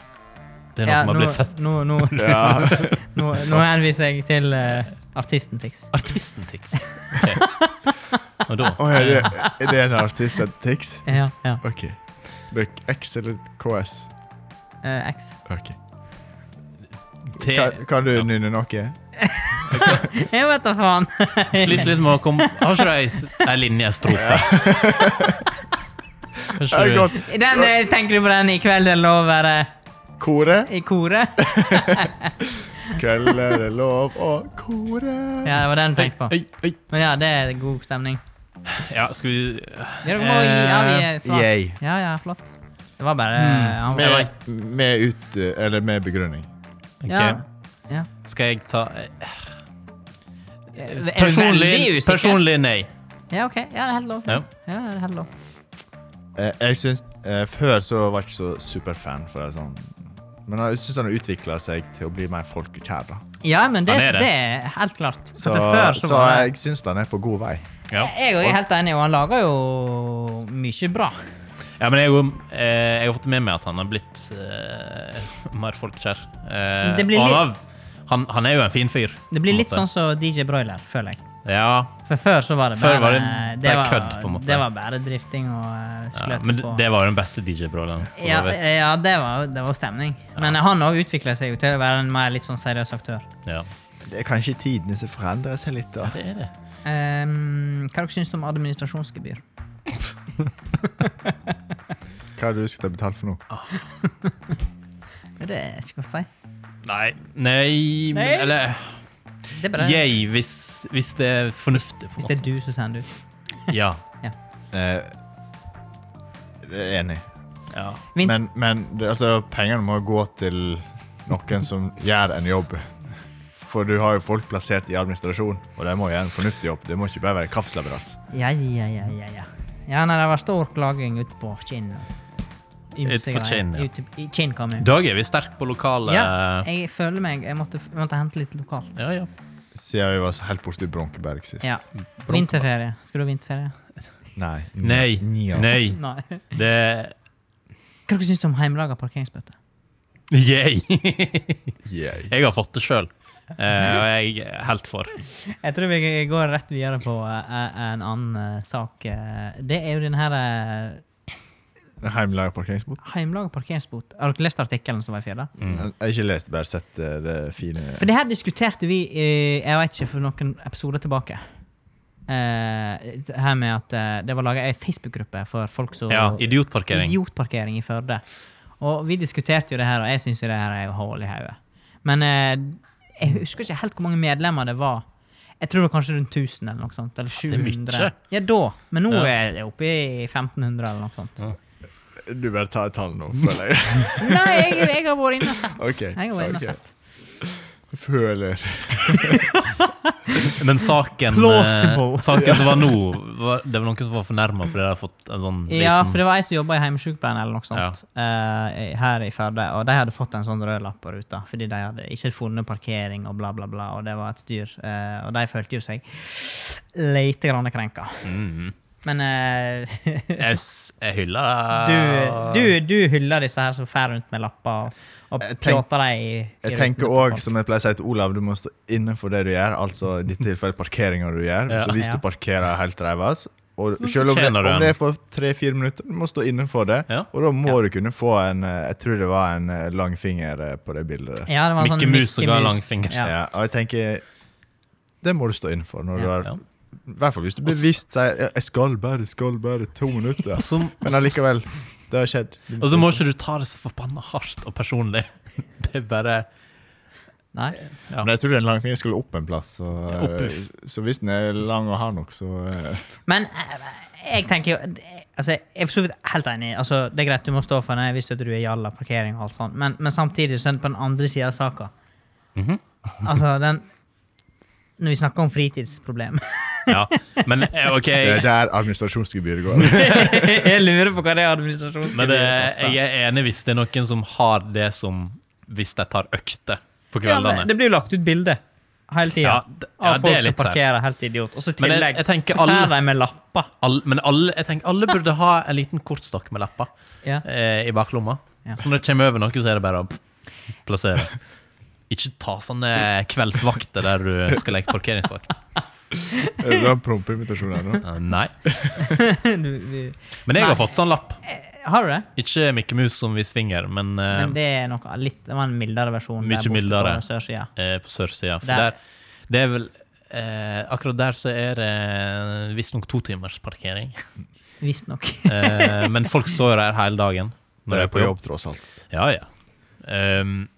Det er noe Ja, man nå, blir født nå, nå, (laughs) Ja. nå, nå henviser jeg til eh, artisten Tix. Artisten Tix. Ok. Og da Oi, er, det, er det en artist som heter Tix? Ja, ja. OK. Det er X eller KS? Eh, X. OK. T- Kan, kan du Ja. nynne noe? Jeg vet da faen. (laughs) Sliter litt med å komme Har ikke du ei- ei linje, ei strofe? Kanskje Er det du godt? Den, eh, tenker du på den i kveld det er lov å være Koret? i koret? Kveld er det lov å kore. Ja, det var den jeg tenkte på. Oi, oi. Men ja, det er god stemning. Ja, skal vi Ja, du må gi, ja, vi er et Eh, svar. Yay. Ja, ja, flott. Det var bare han var- Med, med, ut, eller med begrunning. Ok. Ja. Ja. Skal jeg ta Er du veldig Personlig, usikker? personlig nei. Ja, OK. Ja, det er helt lov. Ja. Ja, det er helt lov. Eh, jeg syns eh, Før så var jeg ikke så superfan, for det er sånn Men jeg syns han har utvikla seg til å bli mer folkekjær. da. Ja, men det, Han er det. det er helt klart. Så, At det før så, så var jeg syns han er på god vei. Ja. Jeg òg er helt enig, og han lager jo mye bra. Ja, men jeg, er jo- eh, jeg har fått med meg at han har blitt eh, mer folkekjær. Eh, Det blir og han, har, han, han er jo en fin fyr. Det blir på en litt måte. sånn som DJ Broiler, føler jeg. Ja, For før så var det bare Før var det bare var- kødd, på en måte. Det var bare drifting og eh, ja sløt men på. det- det var jo den beste DJ-brollen. ja, ja, det var, det var stemning. Men han òg utvikla seg jo til å være en mer litt sånn seriøs aktør. ja. Det er kanskje tidene som forandrer seg litt. da. Det er det. Um, hva dere syns dere om administrasjonsgebyr? Hva har du skal ta betalt for nå? Det er ikke godt å si. Nei, nei, men- Nei. Eller Det er bare yay, hvis, hvis det er fornuftig. på en Hvis det måte. er du som sender ut. Ja. Eh, jeg er enig. ja. Min- Men, men det, altså, pengene må gå til noen som gjør en jobb. For du har jo folk plassert i administrasjon, og de må gjøre en fornuftig jobb. Det må ikke bare være kaffeslabberas. Ja, ja, ja, ja, ja. Ja, nei, det var stor klaging ute på Kinn. Ute på Kinn, ja. eh, Ute i Kinn kommune. Dag er vi sterke på lokale Ja, jeg føler meg Jeg måtte, jeg måtte hente litt lokalt. ja, ja. Siden vi var så helt borte i Bronkeberg sist. Ja. Vinterferie. Skal du ha vinterferie? Nei. Nei. Nja. Nei. (laughs) Nei. Hva Det dere syns du om hjemmelaga parkeringsbøtter? (laughs) Yay! Yay. Jeg har fått det sjøl, og jeg er helt for. Jeg tror vi går rett videre på eh, en annen eh, sak. Eh, Det er jo den her eh, Heimelaga parkeringsbot. heimelaga parkeringsbot. Har dere lest artikkelen som var i fjerde? Mm. Jeg har ikke lest, bare sett eh, det fine For det her diskuterte vi eh, jeg vet ikke, for noen episoder tilbake. Eh, det her med at eh, det var laga ei Facebook-gruppe for folk som Ja, idiotparkering. Idiotparkering i Førde. Og vi diskuterte jo det her, og jeg syns jo det her er hull i hodet. Men eh, jeg husker ikke helt hvor mange medlemmer det var. Jeg tror det var kanskje rundt 1000 eller noe sånt. Eller det er mye. 700. Ja, da. Men nå Ja. er det oppe i 1500 eller noe sånt. Du bare tar et tall nå, føler jeg. (laughs) Nei, jeg, jeg har vært inne og sett. Ok, Jeg har vært inne og ok. sett. Føler. Men saken, Plausible. eh, saken som var nå, (laughs) var, det var noen som var fornærma fordi de hadde fått en sånn Ja, for det var ei som jobba i heimesykepleien eller noe sånt, eh, her i Førde, og de hadde fått en sånn rød lapp på ruta fordi de hadde ikke funnet parkering og bla, bla, bla, og det var et styr. eh, og de følte jo seg lite grann krenka. Mhm. Men eh, (laughs) Jeg, s- jeg hyller Ah. du, du, du hyller disse her som fer rundt med lapper og, og Jeg tenk- pjåter dem i, i Jeg rutene tenker på òg, folk. som jeg pleier å si til Olav, du må stå inne for det du gjør. Altså i dette tilfellet parkeringa du gjør. Ja. Så hvis du Ja. parkerer helt reivas, og Så selv om det, fortjener du om en. det er for tre-fire minutter, du må stå innenfor det. Ja. Og da må du kunne få en eh, Jeg tror det var en eh, langfinger eh, på det bildet. der. ja, det var en Mikke sånn Mus og Mikke ga Mus. langfinger. Ja. Ja, og jeg tenker Det må du stå innenfor. Når du Ja. har, Ja. I hvert fall hvis du bevisst sier «Ja, 'jeg skal bare, skal bare to minutter'. Og så- Men allikevel, det har skjedd. Du Og så stå må ikke du ta det så forbanna hardt og personlig. (laughs) Det er bare Nei. Ja. Men jeg trodde en langfinger skulle opp en plass. Så, eh, opp i så hvis den er lang og hard nok, så eh, Men eh, jeg tenker jo altså, Jeg er for så vidt helt enig. Altså, det er greit, du må stå for det hvis at du er jalla, parkering og alt sånt, men, men samtidig så er det på den andre sida av saka. Altså, den Når vi snakker om fritidsproblem Ja. Men eh, OK, Det er der administrasjonsgebyret (laughs) går. (laughs) Jeg lurer på hva det administrasjonsgebyret men det, koster. jeg er enig hvis det er noen som har det som hvis de tar økter på Ja, men kveldene. det blir jo lagt ut bilde hele tida Ja, d- av ja, det er folk som litt sært. parkerer helt idiot. Og så i Men jeg- tillegg jeg tenker så alle- får de med lapper. Alle, men alle, jeg tenker, alle burde ha en liten kortstokk med lapper Ja. eh, i baklomma. Ja. Så når det kommer over noe, så er det bare å plassere. Ikke ta sånne kveldsvakter der du skal legge parkeringsvakt. Du har prompeinvitasjon her nå. Eh, Nei. (laughs) Du- du- Men jeg Nei. har fått sånn lapp. Har du det? Ikke Mikke Mus som visvinger, men, eh, Men det er noe litt, det var en mildere versjon. Mykje der borte mildere. På sørsida. eh, på sørsida. For Der. der. det er vel eh, Akkurat der så er det eh, visstnok to timers parkering. Visstnok. Eh, men folk står jo der hele dagen når de er på jobb. tross alt. Ja, ja. Ehm,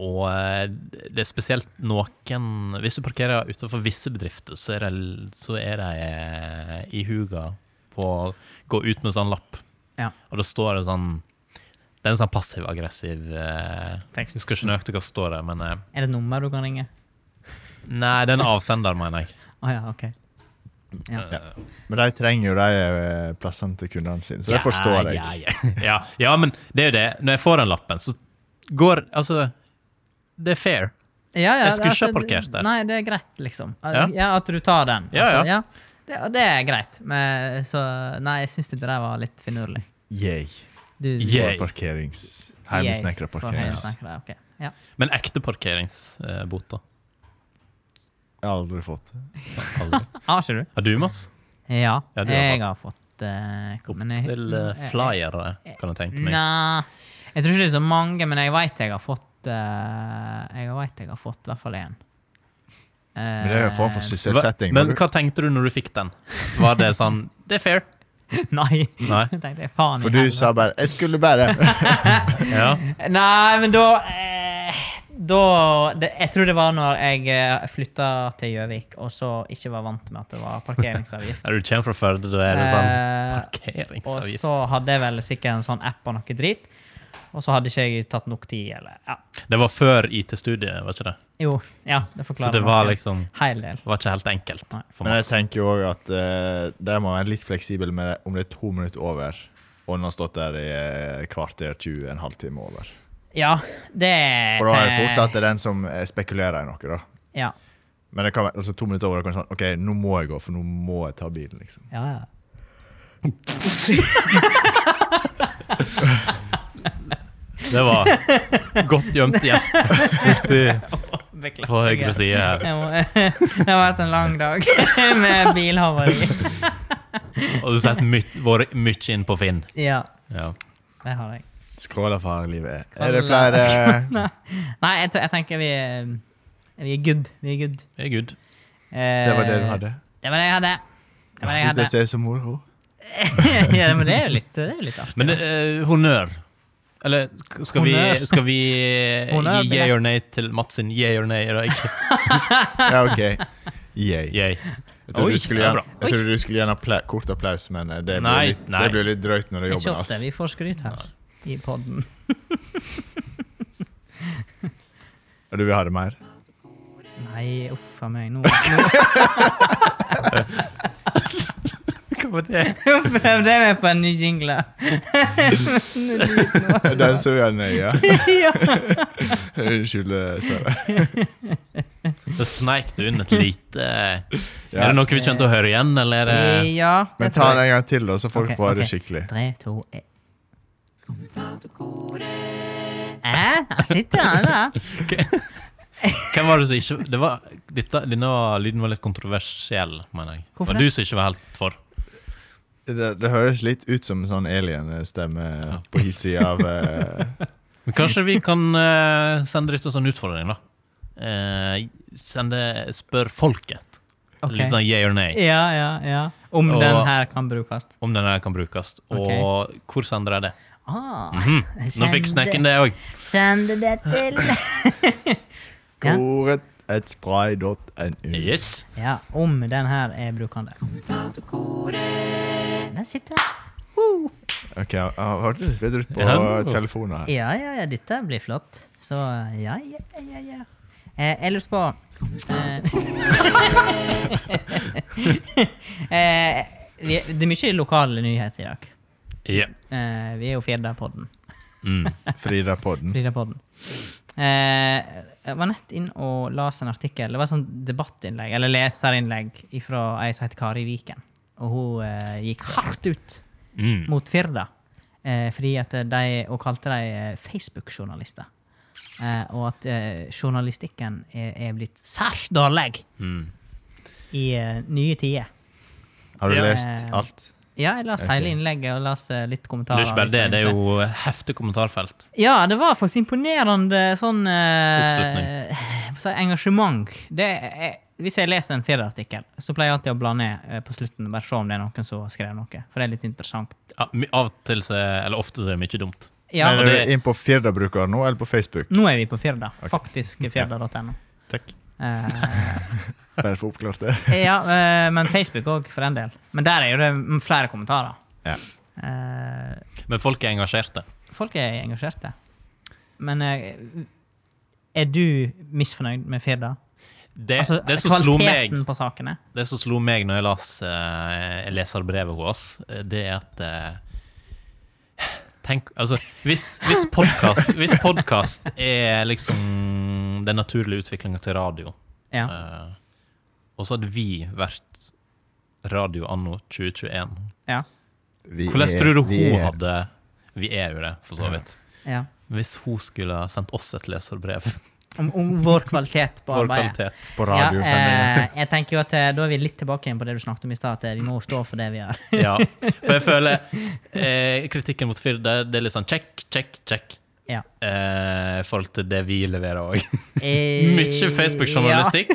og eh, det er spesielt noen Hvis du parkerer utenfor visse bedrifter, så er de, så er de eh, i huga på å gå ut med sånn lapp. Ja. Og da står det sånn Det er en sånn passiv-aggressiv eh, Tekst. Jeg husker ikke nøyaktig hva som står der, men eh, Er det et nummer du kan ringe? Nei, det er en avsender, mener jeg. Å ja, OK. Ja. Men de trenger jo de eh, plassene til kundene sine, så det forstår jeg. Ja, ja. ja, ja, men det er jo det. Når jeg får den lappen, så går Altså, det er fair. Ja, ja, Jeg det er skulle ikke ha at- parkert der. Nei, det er greit, liksom. Al- Ja. Ja, At du tar den. Altså, Ja, ja. Det, og det er greit. Men, så nei, jeg syns det der var litt finurlig. Yay. Du, du- Yeah. Yay. For parkerings... Yay. Heimesnekra For parkerings. heimesnekra, ok. Ja. Men ekte parkeringsbot, da? Jeg har aldri fått det. Aldri. Har ikke du? Har du, (laughs) Mats? Ja, Ja, du har jeg har fått eh, men jeg- Til eh, flyere, kan jeg tenke meg. Nei, jeg tror ikke det er så mange, men jeg veit jeg har fått eh, Jeg vet jeg har fått i hvert fall én. Eh, Men det er jo en form for Hva, sysselsetting. Eh, men hva tenkte du når du fikk den? Var det sånn (laughs) Det er fair. (laughs) Nei. Nei. tenkte jeg, faen i For du helvete. sa bare 'Jeg skulle (laughs) bare'. Ja. Nei, men da eh, Da det, Jeg tror det var når jeg eh, flytta til Gjøvik, og så ikke var vant med at det var (laughs) parkeringsavgift. Når du kommer fra Førde, da er det sånn Eh, og Parkeringsavgift. så hadde jeg vel sikkert en sånn app og noe drit, og så hadde ikke jeg tatt nok tid, eller ja. Det var før IT-studiet, var ikke det? Jo, ja, det Så forklarer det nok var en liksom Heil del. var ikke helt enkelt. Nei. For Men jeg meg. tenker jo òg at eh, der må man være litt fleksibel med det, om det er to minutter over, og den har stått der i eh, kvarter 20, en halvtime over. Ja, det For da er det fort at det er den som eh, spekulerer i noe, da. Ja. Men det kan være altså, to minutter over, og kan være sånn OK, nå må jeg gå, for nå må jeg ta bilen, (laughs) liksom. ja, ja. (laughs) Det var godt gjemt gjesp Beklager. på høyre side her. Jeg må- (laughs) Det har vært en lang dag (laughs) med bilhavari. Og du setter my vært mye inn på Finn. Ja, Ja. det har jeg. Skål for livet. Skål. Er det (laughs) flere Nei, jeg, te- jeg tenker vi er, vi er good. Vi er good. Det er good. Eh, Det var det du hadde? Det var det jeg hadde. Det var det jeg Litt hadde. å se som moro. (laughs) ja, men det er jo litt, det er jo litt artig. Men eh, honnør. Eller sk- skal vi, Honnør. skal vi eh, Honnør, gi yeah or nay til Mats sin yeah or nay i dag? Ja, OK. Yay. Yay. Jeg trodde Oi, du skulle det er gjerne, bra. jeg trodde du skulle gjerne appla kort applaus, men eh, det blir Nei, litt, nei. det blir litt drøyt når det er ikke jobben ofte hans. vi får skryt her i podden. Og (laughs) du vil ha det mer? (laughs) Nei, uff a meg. Nå, nå Hva var det? prøvde jeg meg på en ny (laughs) jingle. Den så jeg (laughs) nøye. ja. Unnskyld, eh, Sverre. Da sneik du inn et lite eh, Ja. Er det noe vi kommer til å høre igjen, eller er det ja det eh, Men tror ta jeg. den en gang til, da, så folk Ok, får ok. det skikkelig. Tre, to, én. Hæ? Her sitter han, da. Hvem var det som ikke det var, dette, Denne lyden var litt kontroversiell, mener jeg. Hvorfor var det? du som ikke var helt for? Det, det høres litt ut som en sånn alien-stemme på hissig av (laughs) eh, Men kanskje vi kan eh, sende litt en sånn utfordring, da. Eh, sende Spør folket. Ok. Litt sånn yeah or nay. Ja, ja, ja. Om Og- den her kan brukes. Om den her kan brukes. Og hvor sender jeg det? Ah, Mhm. Nå fikk snekken det òg. Send det til Ja. koret et spray.nu. Yes. Ja, om den her er brukende. Der sitter den. Woo! Ok, jeg har hørt litt bedre ut på Ja. telefonen her. Ja, ja, ja, dette blir flott. Så ja, ja, ja, ja. ja. Eh, jeg lurte på eh, (laughs) eh, vi, Det er mye lokale nyheter i dag. Ja. Eh, vi er jo Firda-podden. Mm. Frida-podden. Frida-podden. Eh, jeg var nett inn og las en artikkel. Det var et sånt debattinnlegg, eller leserinnlegg, fra ei som heter Kari Viken. Og hun eh, gikk hardt ut Mm. mot Firda eh, fordi at de og kalte de eh, Facebook-journalister. Eh, og at eh, journalistikken er, er blitt særs dårlig Mm. i eh, nye tider. Har du Ja. lest alt? Ja, jeg las Ok. hele innlegget og las eh, litt Det er kommentarer. ikke bare det, det er jo heftig kommentarfelt. Ja, det var faktisk imponerende sånn Oppslutning. eh, så engasjement. Det er, hvis jeg leser en Firda-artikkel, så pleier jeg alltid å bla ned eh, på slutten og bare se om det er noen som har skrevet noe. For det er litt interessant. Ja, my- av og til så, eller ofte så er det mye dumt. Ja, Men og er det- du inn på Firda-brukeren nå, eller på Facebook? nå er vi på Firda. Ok. Faktisk firda.no. Takk. Eh, Bare for å oppklart det. ja, eh, men Facebook òg, for den del. Men der er jo det m- flere kommentarer. Ja. Eh, Men folk er engasjerte. folk er engasjerte. Men eh, er du misfornøyd med Firda? Det, Altså, det som slo meg kvaliteten på sakene? Det som slo meg når jeg las eh, leserbrevet hennes, eh, det er at eh, Tenk, altså, hvis hvis podkast hvis podcast er liksom den naturlige utviklinga til radio, Ja. eh, og så hadde vi vært radio anno 2021 Ja. Vi Hvordan er- tror du vi hun er- hadde Vi er jo det, for så vidt. ja. Hvis hun skulle ha sendt oss et leserbrev Om, om vår kvalitet på Vår arbeidet. kvalitet på Ja, radiosendingen? eh, jeg tenker jo at eh, Da er vi litt tilbake igjen på det du snakket om i stad, at eh, vi må stå for det vi gjør. Ja. For jeg føler eh, kritikken mot Fyrd, det, det er litt sånn check, check, check. Ja. Eh, I forhold til det vi leverer òg. Eh, (laughs) (laughs) Mye Facebook-journalistikk.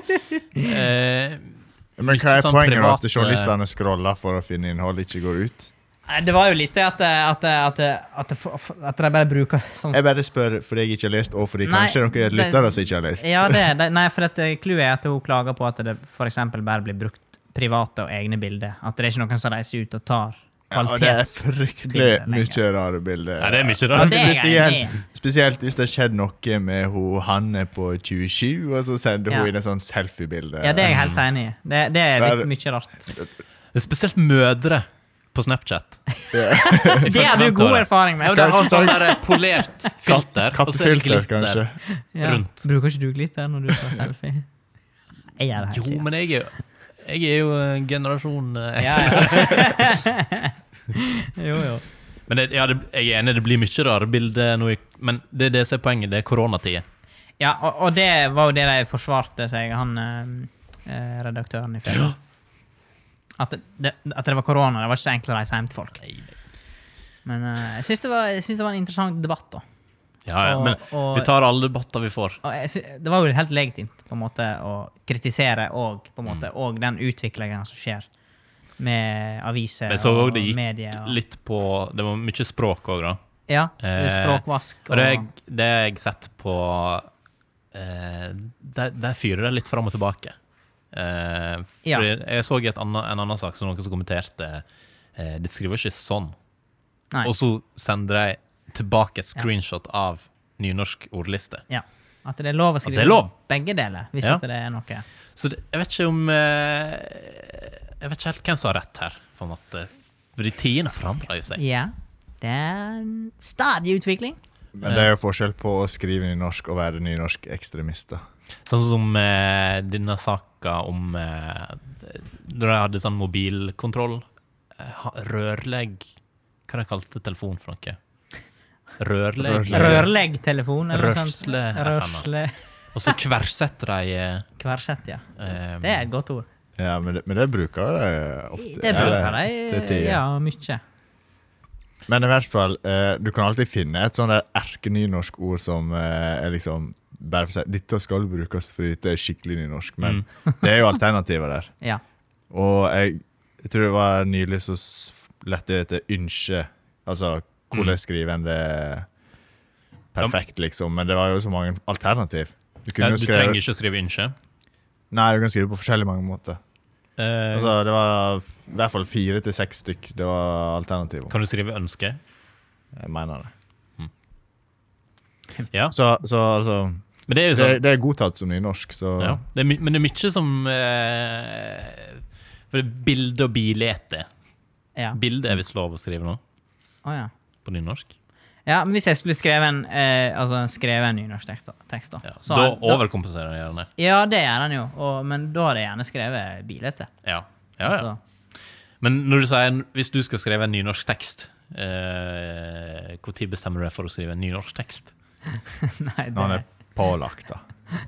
Eh, Men hva ikke er sånn poenget med privat, eh, at journalistene scroller for å finne innhold, ikke går ut? Nei, Det var jo lite at, eh, at, eh, at, eh, at, det f- f- at de bare bruker sånn Jeg bare spør fordi jeg ikke har lest, og fordi Nei, kanskje noen det- lyttere som ikke har lest. Ja, det, det Nei, for at eh, clouet er at hun klager på at det f.eks. bare blir brukt private og egne bilder. At det er ikke noen som reiser ut og tar Ja, og det er kvalitets... fryktelig bilder lenger. mye rare bilder. ja, det er mye Ja, rart. det er jeg enig spesielt, spesielt hvis det har skjedd noe med ho, Hanne på 27, og så sender Ja. hun inn et sånt selfiebilde. Ja, det er jeg helt enig i. Det, det er litt mye rart. Det er Spesielt mødre på Snapchat. (laughs) Det har du god erfaring Ja, med. det har sånn der polert filter, og så er Kattefilter, det glitter. kanskje. Ja. rundt. Bruker ikke du glitter når du tar selfie? Jeg gjør det hele Jo, tiden. men jeg er jo, jeg er jo en generasjon eh, Ja, ja. (laughs) jo, jo. Men det, ja, det, jeg er enig, det blir mye rare bilder nå, i- men det er det som er poenget. Det er koronatida. Ja, og, og det var jo det de forsvarte seg, han eh, eh, redaktøren i fjor. At det, det- at det var korona. Det var ikke så enkelt å reise hjem til folk. Men eh, jeg syns det, var- jeg syns det var en interessant debatt, da. Ja, ja, Og- men og- vi tar alle debatter vi får. Og jeg sy- det var jo helt legitimt på en måte å kritisere og, på en måte, Mm. og den utviklingen som skjer med aviser Jeg så og òg det medier. gikk Og, litt på Det var mye språk òg, da. ja, Eh, språkvask. Og det har jeg, det har jeg sett på eh, Der, der fyrer det litt fram og tilbake. Eh, Ja. fordi Jeg så i et anna- en annen sak som noen som kommenterte eh, De skriver ikke sånn. Nei. Og så sender de tilbake et screenshot av nynorsk ordliste. Ja. At det er lov å det skrive er lov. begge deler, hvis Ja. ikke det er noe. Så det, jeg vet ikke om eh, Jeg vet ikke helt hvem som har rett her, på en måte. Fordi tidene forandrer jo seg. Ja. Det er en stadig utvikling. Men det er jo forskjell på å skrive nynorsk og være nynorsk ekstremister. Sånn som eh, denne saka om eh, Når jeg hadde sånn mobilkontroll eh, ha- Rørlegg Hva de kalte telefonen for noe? Rørlegg? Rørlegg. Rørleggtelefon eller noe sånt. Rørsle, Rørsle Og så kversetter de eh, Kversett, ja. eh, Det er et godt ord. Ja, men det, men det bruker de ofte. Det bruker eller til de tider. ja, mye. Men i hvert fall, eh, du kan alltid finne et sånn der erkenynorsk ord som eh, er liksom bare for seg, Dette skal brukes fordi dette er skikkelig nynorsk, men Mm. det er jo alternativer der. Ja. Og jeg, jeg tror det var nylig så s- lette jeg etter ønske. Altså Mm. hvordan skriver en det perfekt, liksom. Men det var jo så mange alternativ. Du ja, kunne jo Du skrevet- trenger ikke å skrive innsjø. Nei, du kan skrive på forskjellig mange måter. Eh, Altså, det var f- i hvert fall fire til seks stykk. Det var alternativer. kan du skrive ønske? Jeg mener det. Mm. Hm. Ja. Så, så altså Men det er jo det, sånn det er godtatt som nynorsk, så Ja. Det er my men det er mye som eh, For det er bilde og bilete. Ja. Bilde er visst lov å skrive nå, Å, ja. på nynorsk. ja. Men hvis jeg skulle skrevet en, eh, altså, skrevet en nynorsk tekst, da, tekst, da, Ja. så Da hadde- da- overkompenserer jeg gjerne. Ja, det gjør han jo, og, men da hadde jeg gjerne skrevet bilete. Altså, Ja. Ja, ja. Men når du sier, hvis du skal skrive en nynorsk tekst, eh, hvor tid bestemmer du deg for å skrive en nynorsk tekst? (laughs) nei, det (laughs) når han er pålagt, da.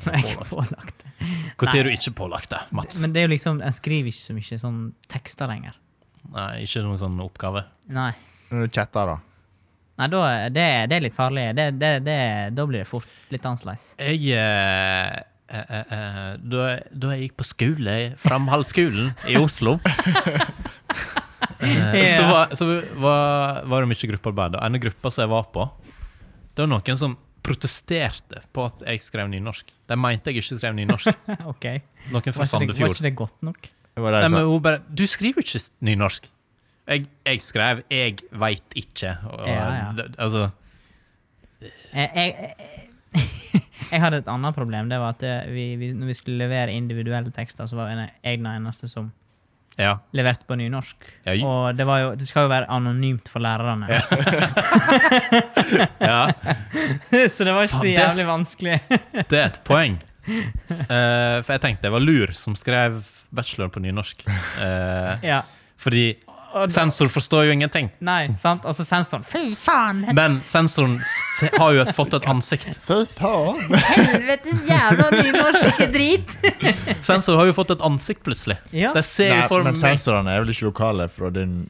er jeg pålagt. Hvor tid er du ikke pålagt det, Mats? Men det er jo liksom, en skriver ikke så mye sånn tekster lenger. Nei, ikke noen sånn oppgave. Nei, Når du chatter, da. nei da, er- det, er- det er litt farlig. Det, det, det, da blir det fort litt annerledes. Jeg eh, eh, eh, eh, da, da jeg gikk på skole, Framhaldsskolen i (laughs) Oslo Eh, Så, Ja. var, så var, var det mye gruppearbeid. Og en av gruppa som jeg var på, det var noen som protesterte på at jeg skrev nynorsk. De mente jeg ikke skrev (laughs) nynorsk. (laughs) ok. Var ikke, Noen fra det, var Sandefjord. ikke det godt nok? Det var de Nei, men som hun bare Du skriver jo ikke s- nynorsk. Altså- Jeg, jeg skrev 'jeg veit ikke'. Og, Ja, ja. det- Altså, Jeg, Eh, jeg, jeg, (laughs) jeg hadde et annet eh, problem. Det var at eh, vi, vi, når vi skulle levere individuelle tekster, så var jeg den ene eneste som Ja. levert på nynorsk. Ja, ju- Og det, var jo, det skal jo være anonymt for lærerne. ja. (laughs) så det var ikke Faen, så det er- jævlig vanskelig. Det er et poeng. (laughs) Eh, for jeg tenkte det var Lur som skrev bacheloren på nynorsk. Eh, (laughs) ja. Fordi Og da, sensor forstår jo ingenting. nei, sant? Og så sensoren Fy faen! Men sensoren se- har jo et, fått et ansikt. Fy faen! Helvetes jævla (laughs) nynorske drit! Sensor har jo fått et ansikt, plutselig. Ja. Det ser jo Nei, for men meg sensorene er vel ikke lokale fra din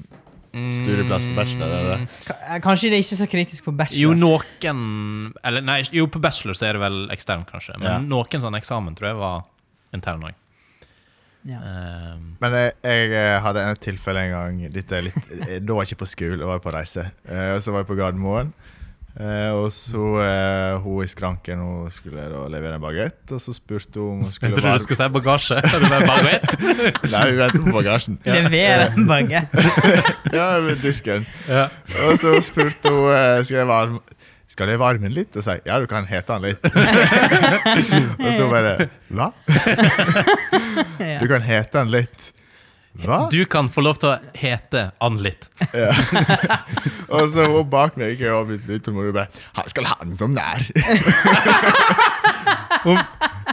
studieplass på bachelor? Eller? K- eh, Kanskje det er ikke så kritisk på bachelor. Jo, noen Eller nei, jo, på bachelor så er det vel ekstern, kanskje. Men Ja. noen sånn eksamen tror jeg var intern Ehm, òg. Ja. Men jeg, jeg eh, hadde et tilfelle en gang dette er litt, eh, Da var jeg ikke på skole, jeg var på reise. Eh, og så var jeg på Gardermoen. Eh, og så eh, hun i skranken hun skulle da levere en bagett. Og så spurte hun om hun Jeg skulle trodde du skulle si bagasje. Er det bare baguett? (laughs) Nei, hun ventet på bagasjen. Lever en bagett. Ja, ved disken. Ja. Og så spurte hun eh, skal jeg varme skal jeg varme den litt? Og si ja, du kan hete den litt. (laughs) og så bare hva? Ja. Du kan hete den litt. Hva? Du kan få lov til å hete Ann-Litt. Og så hun bak meg og blitt utålmodig og bare Han skal ha den som den er. Hun,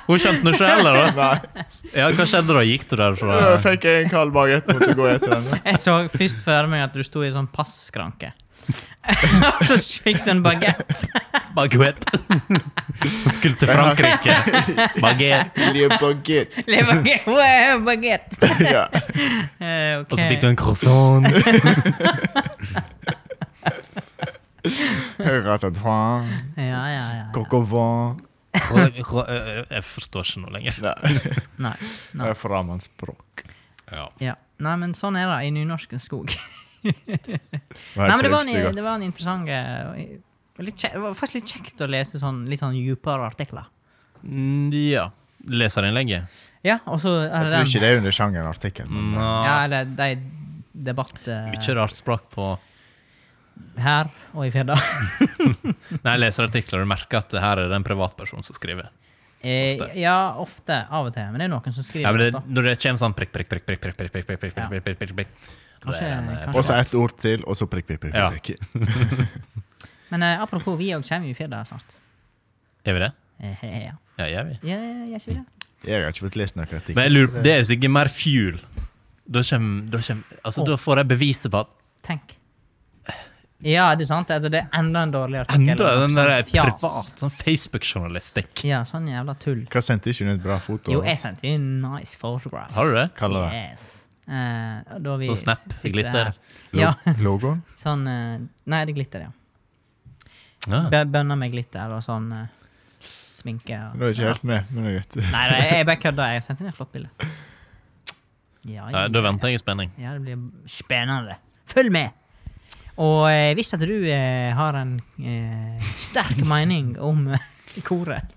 hun skjønte noe selv, eller? da? Nei. Ja, hva skjedde da? Gikk du derfra? Da fikk jeg en kald bagett måtte gå etter den. Jeg så først for meg at du sto i en sånn (laughs) passkranke. Og så fikk du en bagett. Baguette. (laughs) Skulle til Frankrike. Baguette. Lille bagett. Leverbaguett. Wow, baguette. (laughs) Ja. Eh, ok. Og så fikk du en croissant. Ratatouin. Ja, ja, ja. ja. Coq au vin. (laughs) Ro- ro- eh, Jeg forstår ikke noe lenger. Nei, Nei. det er fremmedspråk. Ja. Ja. Nei, men sånn er det i nynorskens skog. Hva Nei, men det var, trivste du en, godt? det var en interessant eh, litt kjek, Det var faktisk litt kjekt å lese sånn, litt sånn djupere artikler. Mm, ja. Leserinnlegget? Ja, og så er Jeg det tror ikke den. det er under sjangeren artikkel. Men Ja, Nå, eller de debatt eh, mye rart språk på her og i Firda. Nei, jeg leser artikler og merker at det her er det en privatperson som skriver. Eh, Ofte. ja, ofte. Av og til. Men det er noen som skriver Ja, men det, ofte. når det kommer sånn prikk, prikk, prikk, prikk, prikk, prikk, prikk, prikk, prikk, prikk, prikk, prikk, prikk, Kanskje- Det er en, eh, kanskje- og så ett ord til, og så prikk, prikk, prikk. Ja. prikk. Men eh, apropos, vi òg kommer jo i Firda snart. Er vi det? Eh, ja. Ja, gjør vi. Ja, ja, ja, ikke vi det? Jeg har ikke fått lest noen artikkel. Men jeg lurer, det er jo sikkert mer fuel. Da kommer, da kjem- altså Åh. da får jeg beviset på at Tenk. Ja, det er sant. altså, Det er enda en dårlig artikkel. enda og noe den sånn der fjas. privat, sånn Facebook-journalistikk. Ja, sånn jævla tull. Hva sendte ikke hun et bra foto? Jo, av jeg oss? sendte jo en nice photograph. Har du det? Kaller det Yes. Eh, da vi Sånn snap, s- sitter glitter. her. lo- Ja, logoen? sånn eh, Nei, det er glitter, ja. Ja. Bø- Bønner med glitter og sånn eh, sminke. Og, Nå er jeg ikke helt med, men det er greit. Nei, nei, jeg bare kødda. Jeg sendte inn et flott (laughs) bilde. Ja, Nei, Da venter jeg i spenning. Ja, det blir spennende. Følg med! Og eh, hvis at du eh, har en eh, (laughs) sterk mening om eh, koret,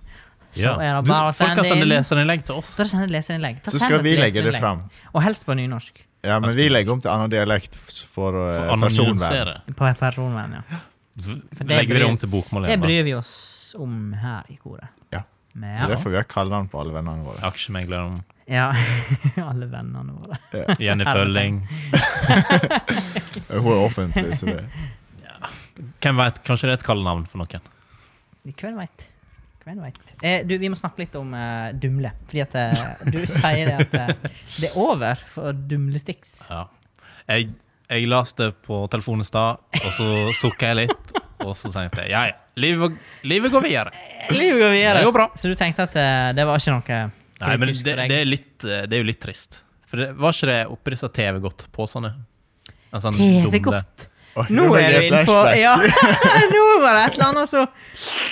så Ja. er det Du, bare å Folk sende har sendt inn. leserinnlegg til oss. Så send et leserinnlegg. Ta Så send skal et vi legge det leserinnlegg. fram. Og helst på nynorsk. Ja, men vi legger om til annen dialekt f- for, eh, For personvern. anonymisere. På personvern, ja. det Legger vi det bryr- om til bokmål Det igjen, da. bryr vi oss om her i koret. Ja. Men Det er ja. derfor vi har kallenavn på alle vennene våre. Aksjemegleren ja. (laughs) Alle vennene våre. Jenny Følling. Eh, Hun er offentlig, så det Hvem vet, kanskje det er et kallenavn for noen. Hvem veit? Hvem veit? Eh, du, vi må snakke litt om eh, dumle. Fordi at eh, du sier det at eh, det er over for dumlestiks. Ja. Jeg, jeg leste det på telefonen i stad, og så sukka jeg litt. Og så tenkte jeg ja, ja, livet, livet går videre. Livet går videre. Det går bra. Så du tenkte at eh, det var ikke noe Nei, men det, kritisk for deg? det, er litt, eh, det er jo litt trist. For det, var ikke det oppi disse TV-godt-posene? En sånn TV dumle- godt. Oi, Nå fikk er jeg du inne på flashback. Ja, (laughs) nå var det et eller annet som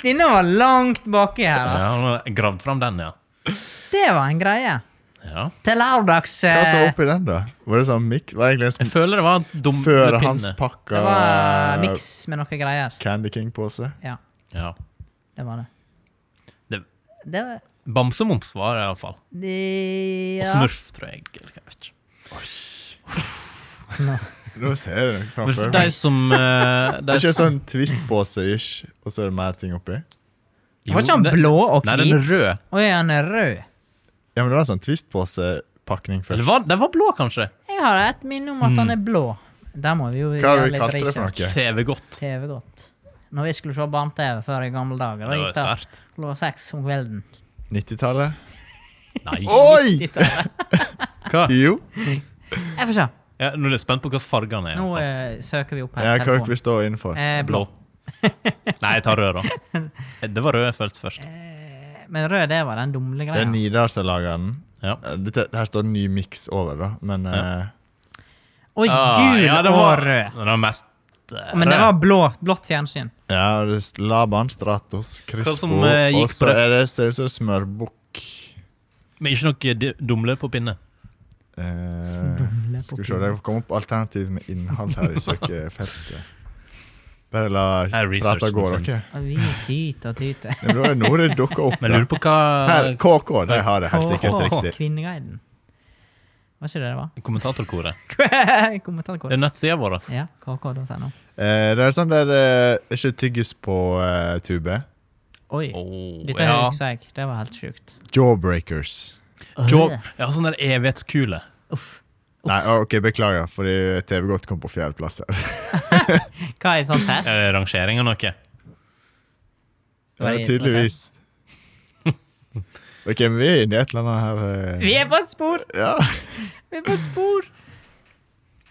Denne var langt baki her, Ja, altså. nå har jeg gravd fram den, ja. Det var en greie. ja. Til lørdags Hva sa eh, oppi den, da? Var det sånn mix? Var det egentlig en Jeg føler det var sånn før hans dumlepinne. pakka Det var miks med noen greier. Candy King-pose? Ja, Ja. det var det. Det- Det var Bamsemums var det iallfall. de, Og ja. Smurf, tror jeg. Eller, hva, jeg vet ikke. Nå ser jeg det nok Men framfor for meg. de som eh, Det de er ikke som- sånn twist-pose-ish, og så er det mer ting oppi? Jo, Var ikke han det- blå og Nei, den er hvit? rød. Å ja, han er rød. Ja, men det var en sånn twist-pose-pakning Eller først. var, den var blå, kanskje? Jeg Jeg har et minne om at Mm. han er blå. Der må vi jo Hva har gjøre vi litt kalt det for research. noe? TV-godt. TV-godt. Når vi skulle se barne-TV før i gamle dager, da Det var gikk det svært. klokka seks om kvelden. 90-tallet? Nei. Oi! Ditt og datt. Hva? Jo. Jeg får se. Ja, nå er jeg spent på hvilke farger den er. i Nå hvert fall. eh, søker vi opp her. Ja, hva dere vil stå innenfor? Eh, blå. Blå. Nei, jeg tar rød, da. (laughs) Det var rød jeg følte først. Eh, Men rød, det var den dumle Det greia. er Nidar som lager den. Ja. Eh, Dette, her står ny mix over, da. Men eh, Oi, Ah, gul ja, det og var- rød. Den var mest eh, Men det rød. var blå, blått fjernsyn. ja, det er Laban, Stratos, Crispo som, eh, gikk Og så på det? er det ser ut som smørbukk. Men ikke noe di- dumle på pinne. Eh, Dumle på skal vi se, det kommer opp alternativ med innhold her i søkefeltet. Bare la er research, prata gå, liksom. dere. Og Vi tyter og tyter. Ja, men da er det noe det dukker opp. Men jeg lurer på hva Her, KK, de har det helt sikkert Åh, riktig. Kvinneguiden. Var ikke det det var? (laughs) kommentatorkoret Det Kommentarkort. er nettsida vår. altså. ass. Ja, kk.no. Eh, det er sånn der eh, Ikke tyggis på eh, tube. Oi, Åh, dette ja. husker jeg. Det var helt sjukt. Jawbreakers. Job, ja, sånn der evighetskule. Uff. Nei, OK, beklager, fordi TV Godt kom på fjerdeplass her. Hva er sånn (laughs) test? Er det Eh, rangering eller noe? Var (laughs) Ja, det tydeligvis. OK, men vi er inne i et eller annet her. Vi er på et spor! eh, Ja. Vi er på et spor!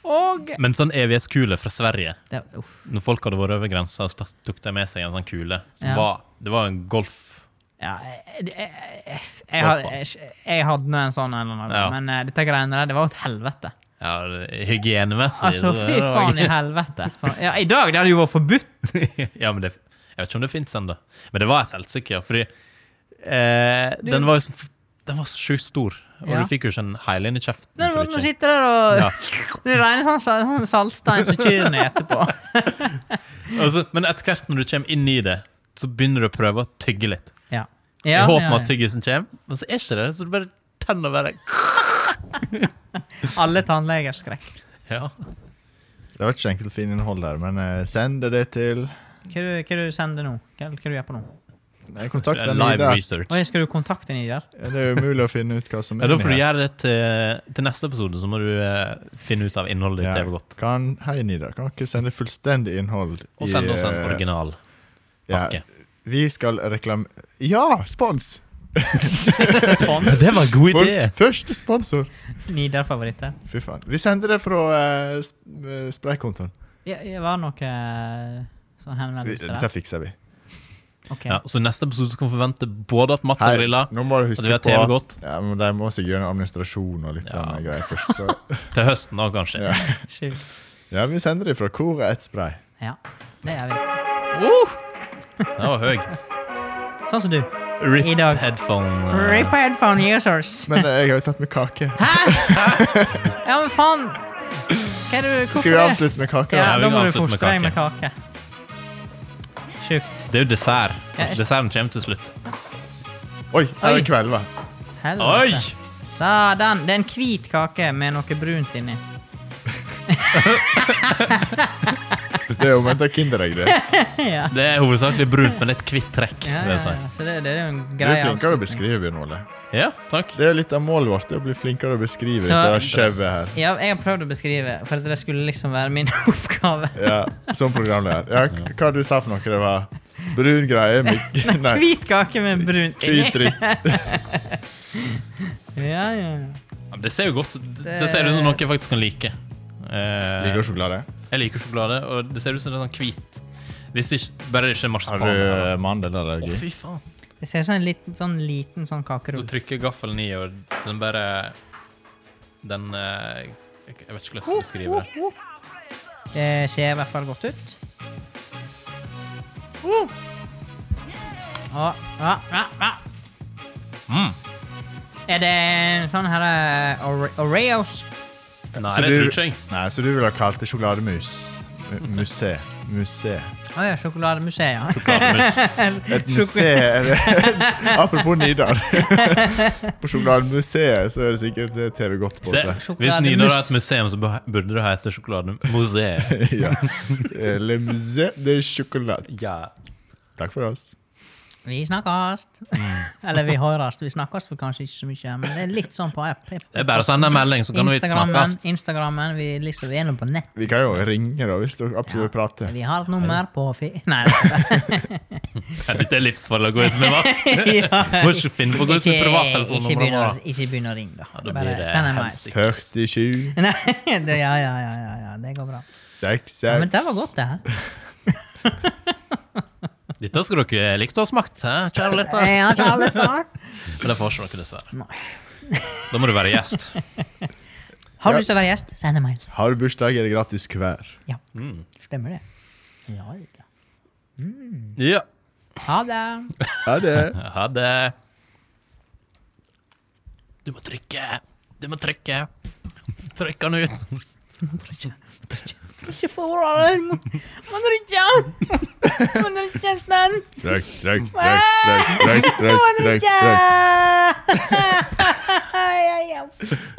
Og Men sånn evighetskule fra Sverige. det, uff. Når folk hadde vært over grensa, så tok de med seg en sånn kule. Som Ja. var, det var en golf. Ja, eh, jeg, jeg, jeg, jeg, had- jeg, jeg hadde nå en sånn en eller annen gang, Ja. men eh, dette greiene der, det var jo et helvete. Ja, det- hygienemessig. Altså, det- fy det var- faen i helvete. For- Ja, I dag det hadde jo vært forbudt. (laughs) ja, men det, jeg vet ikke om det fins ennå. Men det var et helsike, ja, fordi eh, den var jo så, f- den var så sjukt stor. Og Ja. du fikk jo ikke en hel inn i kjeften. Når så man ikke- sitter der og Ja. Det regner sånn, sal- sånn saltstein som kyr ned etterpå. altså, men etter hvert når du kommer inn i det, så begynner du å prøve å tygge litt. Ja. I Ja, håp ja, om at ja. tyggisen kommer, men så er ikke det. Så du bare tenner bare Alle tannleger skrekk. Ja. Det var ikke så enkelt å finne innhold der, men eh, send det det til Hva du, hva du sender nå? Hva, hva du gjør på nå? Nei, Kontakt den Live Nida. research. Oi, skal du kontakte Nidar? Ja, Det er jo umulig å finne ut hva som (laughs) Ja, er da får du inni her. gjøre det til, til neste episode, så må du eh, finne ut av innholdet i TV Godt. Kan, hei, Nida. Kan dere sende fullstendig innhold Og send oss en eh, original ja, pakke. Vi skal reklame... Ja! Spons! Spons. Det var en god Vår idé! første sponsor. Nidar-favoritter. Fy faen. Vi sendte det fra uh, spraykontoen. Ja, ja, var det noe eh, sånn Vi- henvendelse Dette der? fikser vi. Ok. Ja, så i neste episode skal vi forvente både at Mats har grilla, nå må du at huske vi har på TV at Godt ja, men de må seg gjøre en administrasjon og litt Ja. sånne greier først. Så. (laughs) til høsten òg, kanskje. Ja. Sjukt. Ja, vi sender det fra koret ett spray. Ja, det gjør vi. Uh! Den var høy. Sånn som du. Rip I dag. headphone. eh, Rape headphone users. Men eh, jeg har jo tatt med kake. Ja, men faen! Hva er du, hvorfor Skal vi det? avslutte med kake? Ja, Ja, vi da kan må du avslutte med forte deg med kake. Sjukt. Det er jo dessert. Ja. Altså, desserten kommer til slutt. da? Oi, her Oi. er kvelva. Oi! Helvete. Sadan. Det er en hvit kake med noe brunt inni. Det er jo omvendt av Kinderegg, (laughs) det. ja. Det er hovedsakelig brunt, men et hvitt trekk. Ja, vil ja, jeg si. ja. Så det, det er jo en Du er grei flinkere å avslutning. beskrive, Bjørn Ole. Ja, takk. Det er litt av målet vårt, det å bli flinkere å beskrive Så- dette skjøvet her. Ja, jeg har prøvd å beskrive, for at det skulle liksom være min (laughs) oppgave. Ja, som programleder. Ja, k- hva du sa for noe? Det var brun greie med (laughs) Nei, Hvit kake med brunt inni. hvit dritt. (laughs) Ja, ja. Ja, men Det ser jo godt Det det ser ut som noe jeg faktisk kan like. Eh, Liker du sjokolade? jeg liker sjokolade, og det ser ut som det er sånn hvit. Hvis ikke, bare det ikke er Har marsipan. du eller- eh, Å, mandelallergi? fy faen. Jeg ser sånn liten sånn, liten sånn Du kakerull. trykker gaffelen i, og den bare Den eh, Jeg jeg vet ikke hvordan jeg skal beskrive det. Det ser i hvert fall godt ut. Å, ja, ja, ja. Mm. Er det en sånn her eh, Ore- Oreos? Nei, Så det du- tror ikke jeg. Nei, så du ville ha kalt det sjokolademus? Mu- Museet. Museet. Å ja, sjokolademuseet. ja. Sjokolademus. Et museum (laughs) Apropos Nidar. (laughs) på sjokolademuseet så er det sikkert eh, TV Godt på Det, seg. hvis Nidar har Sjokolademus. et museum, så beh- burde det hete Sjokolademuseet. (laughs) ja. Eh, Le musée de chocolat. Ja. Takk for oss. (laughs) Vi snakkes! Mm. Eller vi høres. Vi snakkes for kanskje ikke så mye, men det er litt sånn på app. Det er bare å sende en melding, så kan vi Instagrammen, snakkes. Instagrammen vi, liksom, vi er nå på nett. Vi kan jo ringe, da, hvis du absolutt vil prate. Vi har et nummer på fi... (laughs) Nei, det Dette er livsfarlig å gå ut med, (laughs) Mats. Må ikke finne på å gå Ikke begynn ut med å- privattelefonnummeret. ikke begynn å ringe, da. da blir Bare det send en mail. helsike. 47 Nei, (laughs) det, ja, ja, ja, ja, ja, det går bra. 66 Ja, men det var godt, det her. Dette skulle dere likt å ha smakt, hæ, kjære lytter. Jeg har ikke alle svar. Men det får ikke dere, dessverre. Nei. Da må du være gjest. (laughs) Har du Ja. lyst til å være gjest, send en mail. Har du bursdag, er det gratis hver. Ja, stemmer det. Ja, ja. Ja. Ha det. Ja, det er (laughs) Ha det. Du må trykke. Du må trykke. Trykk han ut. Ikke forholde deg mot Man drikker! Man drikker den! Drøkk, drøkk, (laughs) drøkk, drøkk, drøkk, drøkk, drøkk, drøkk.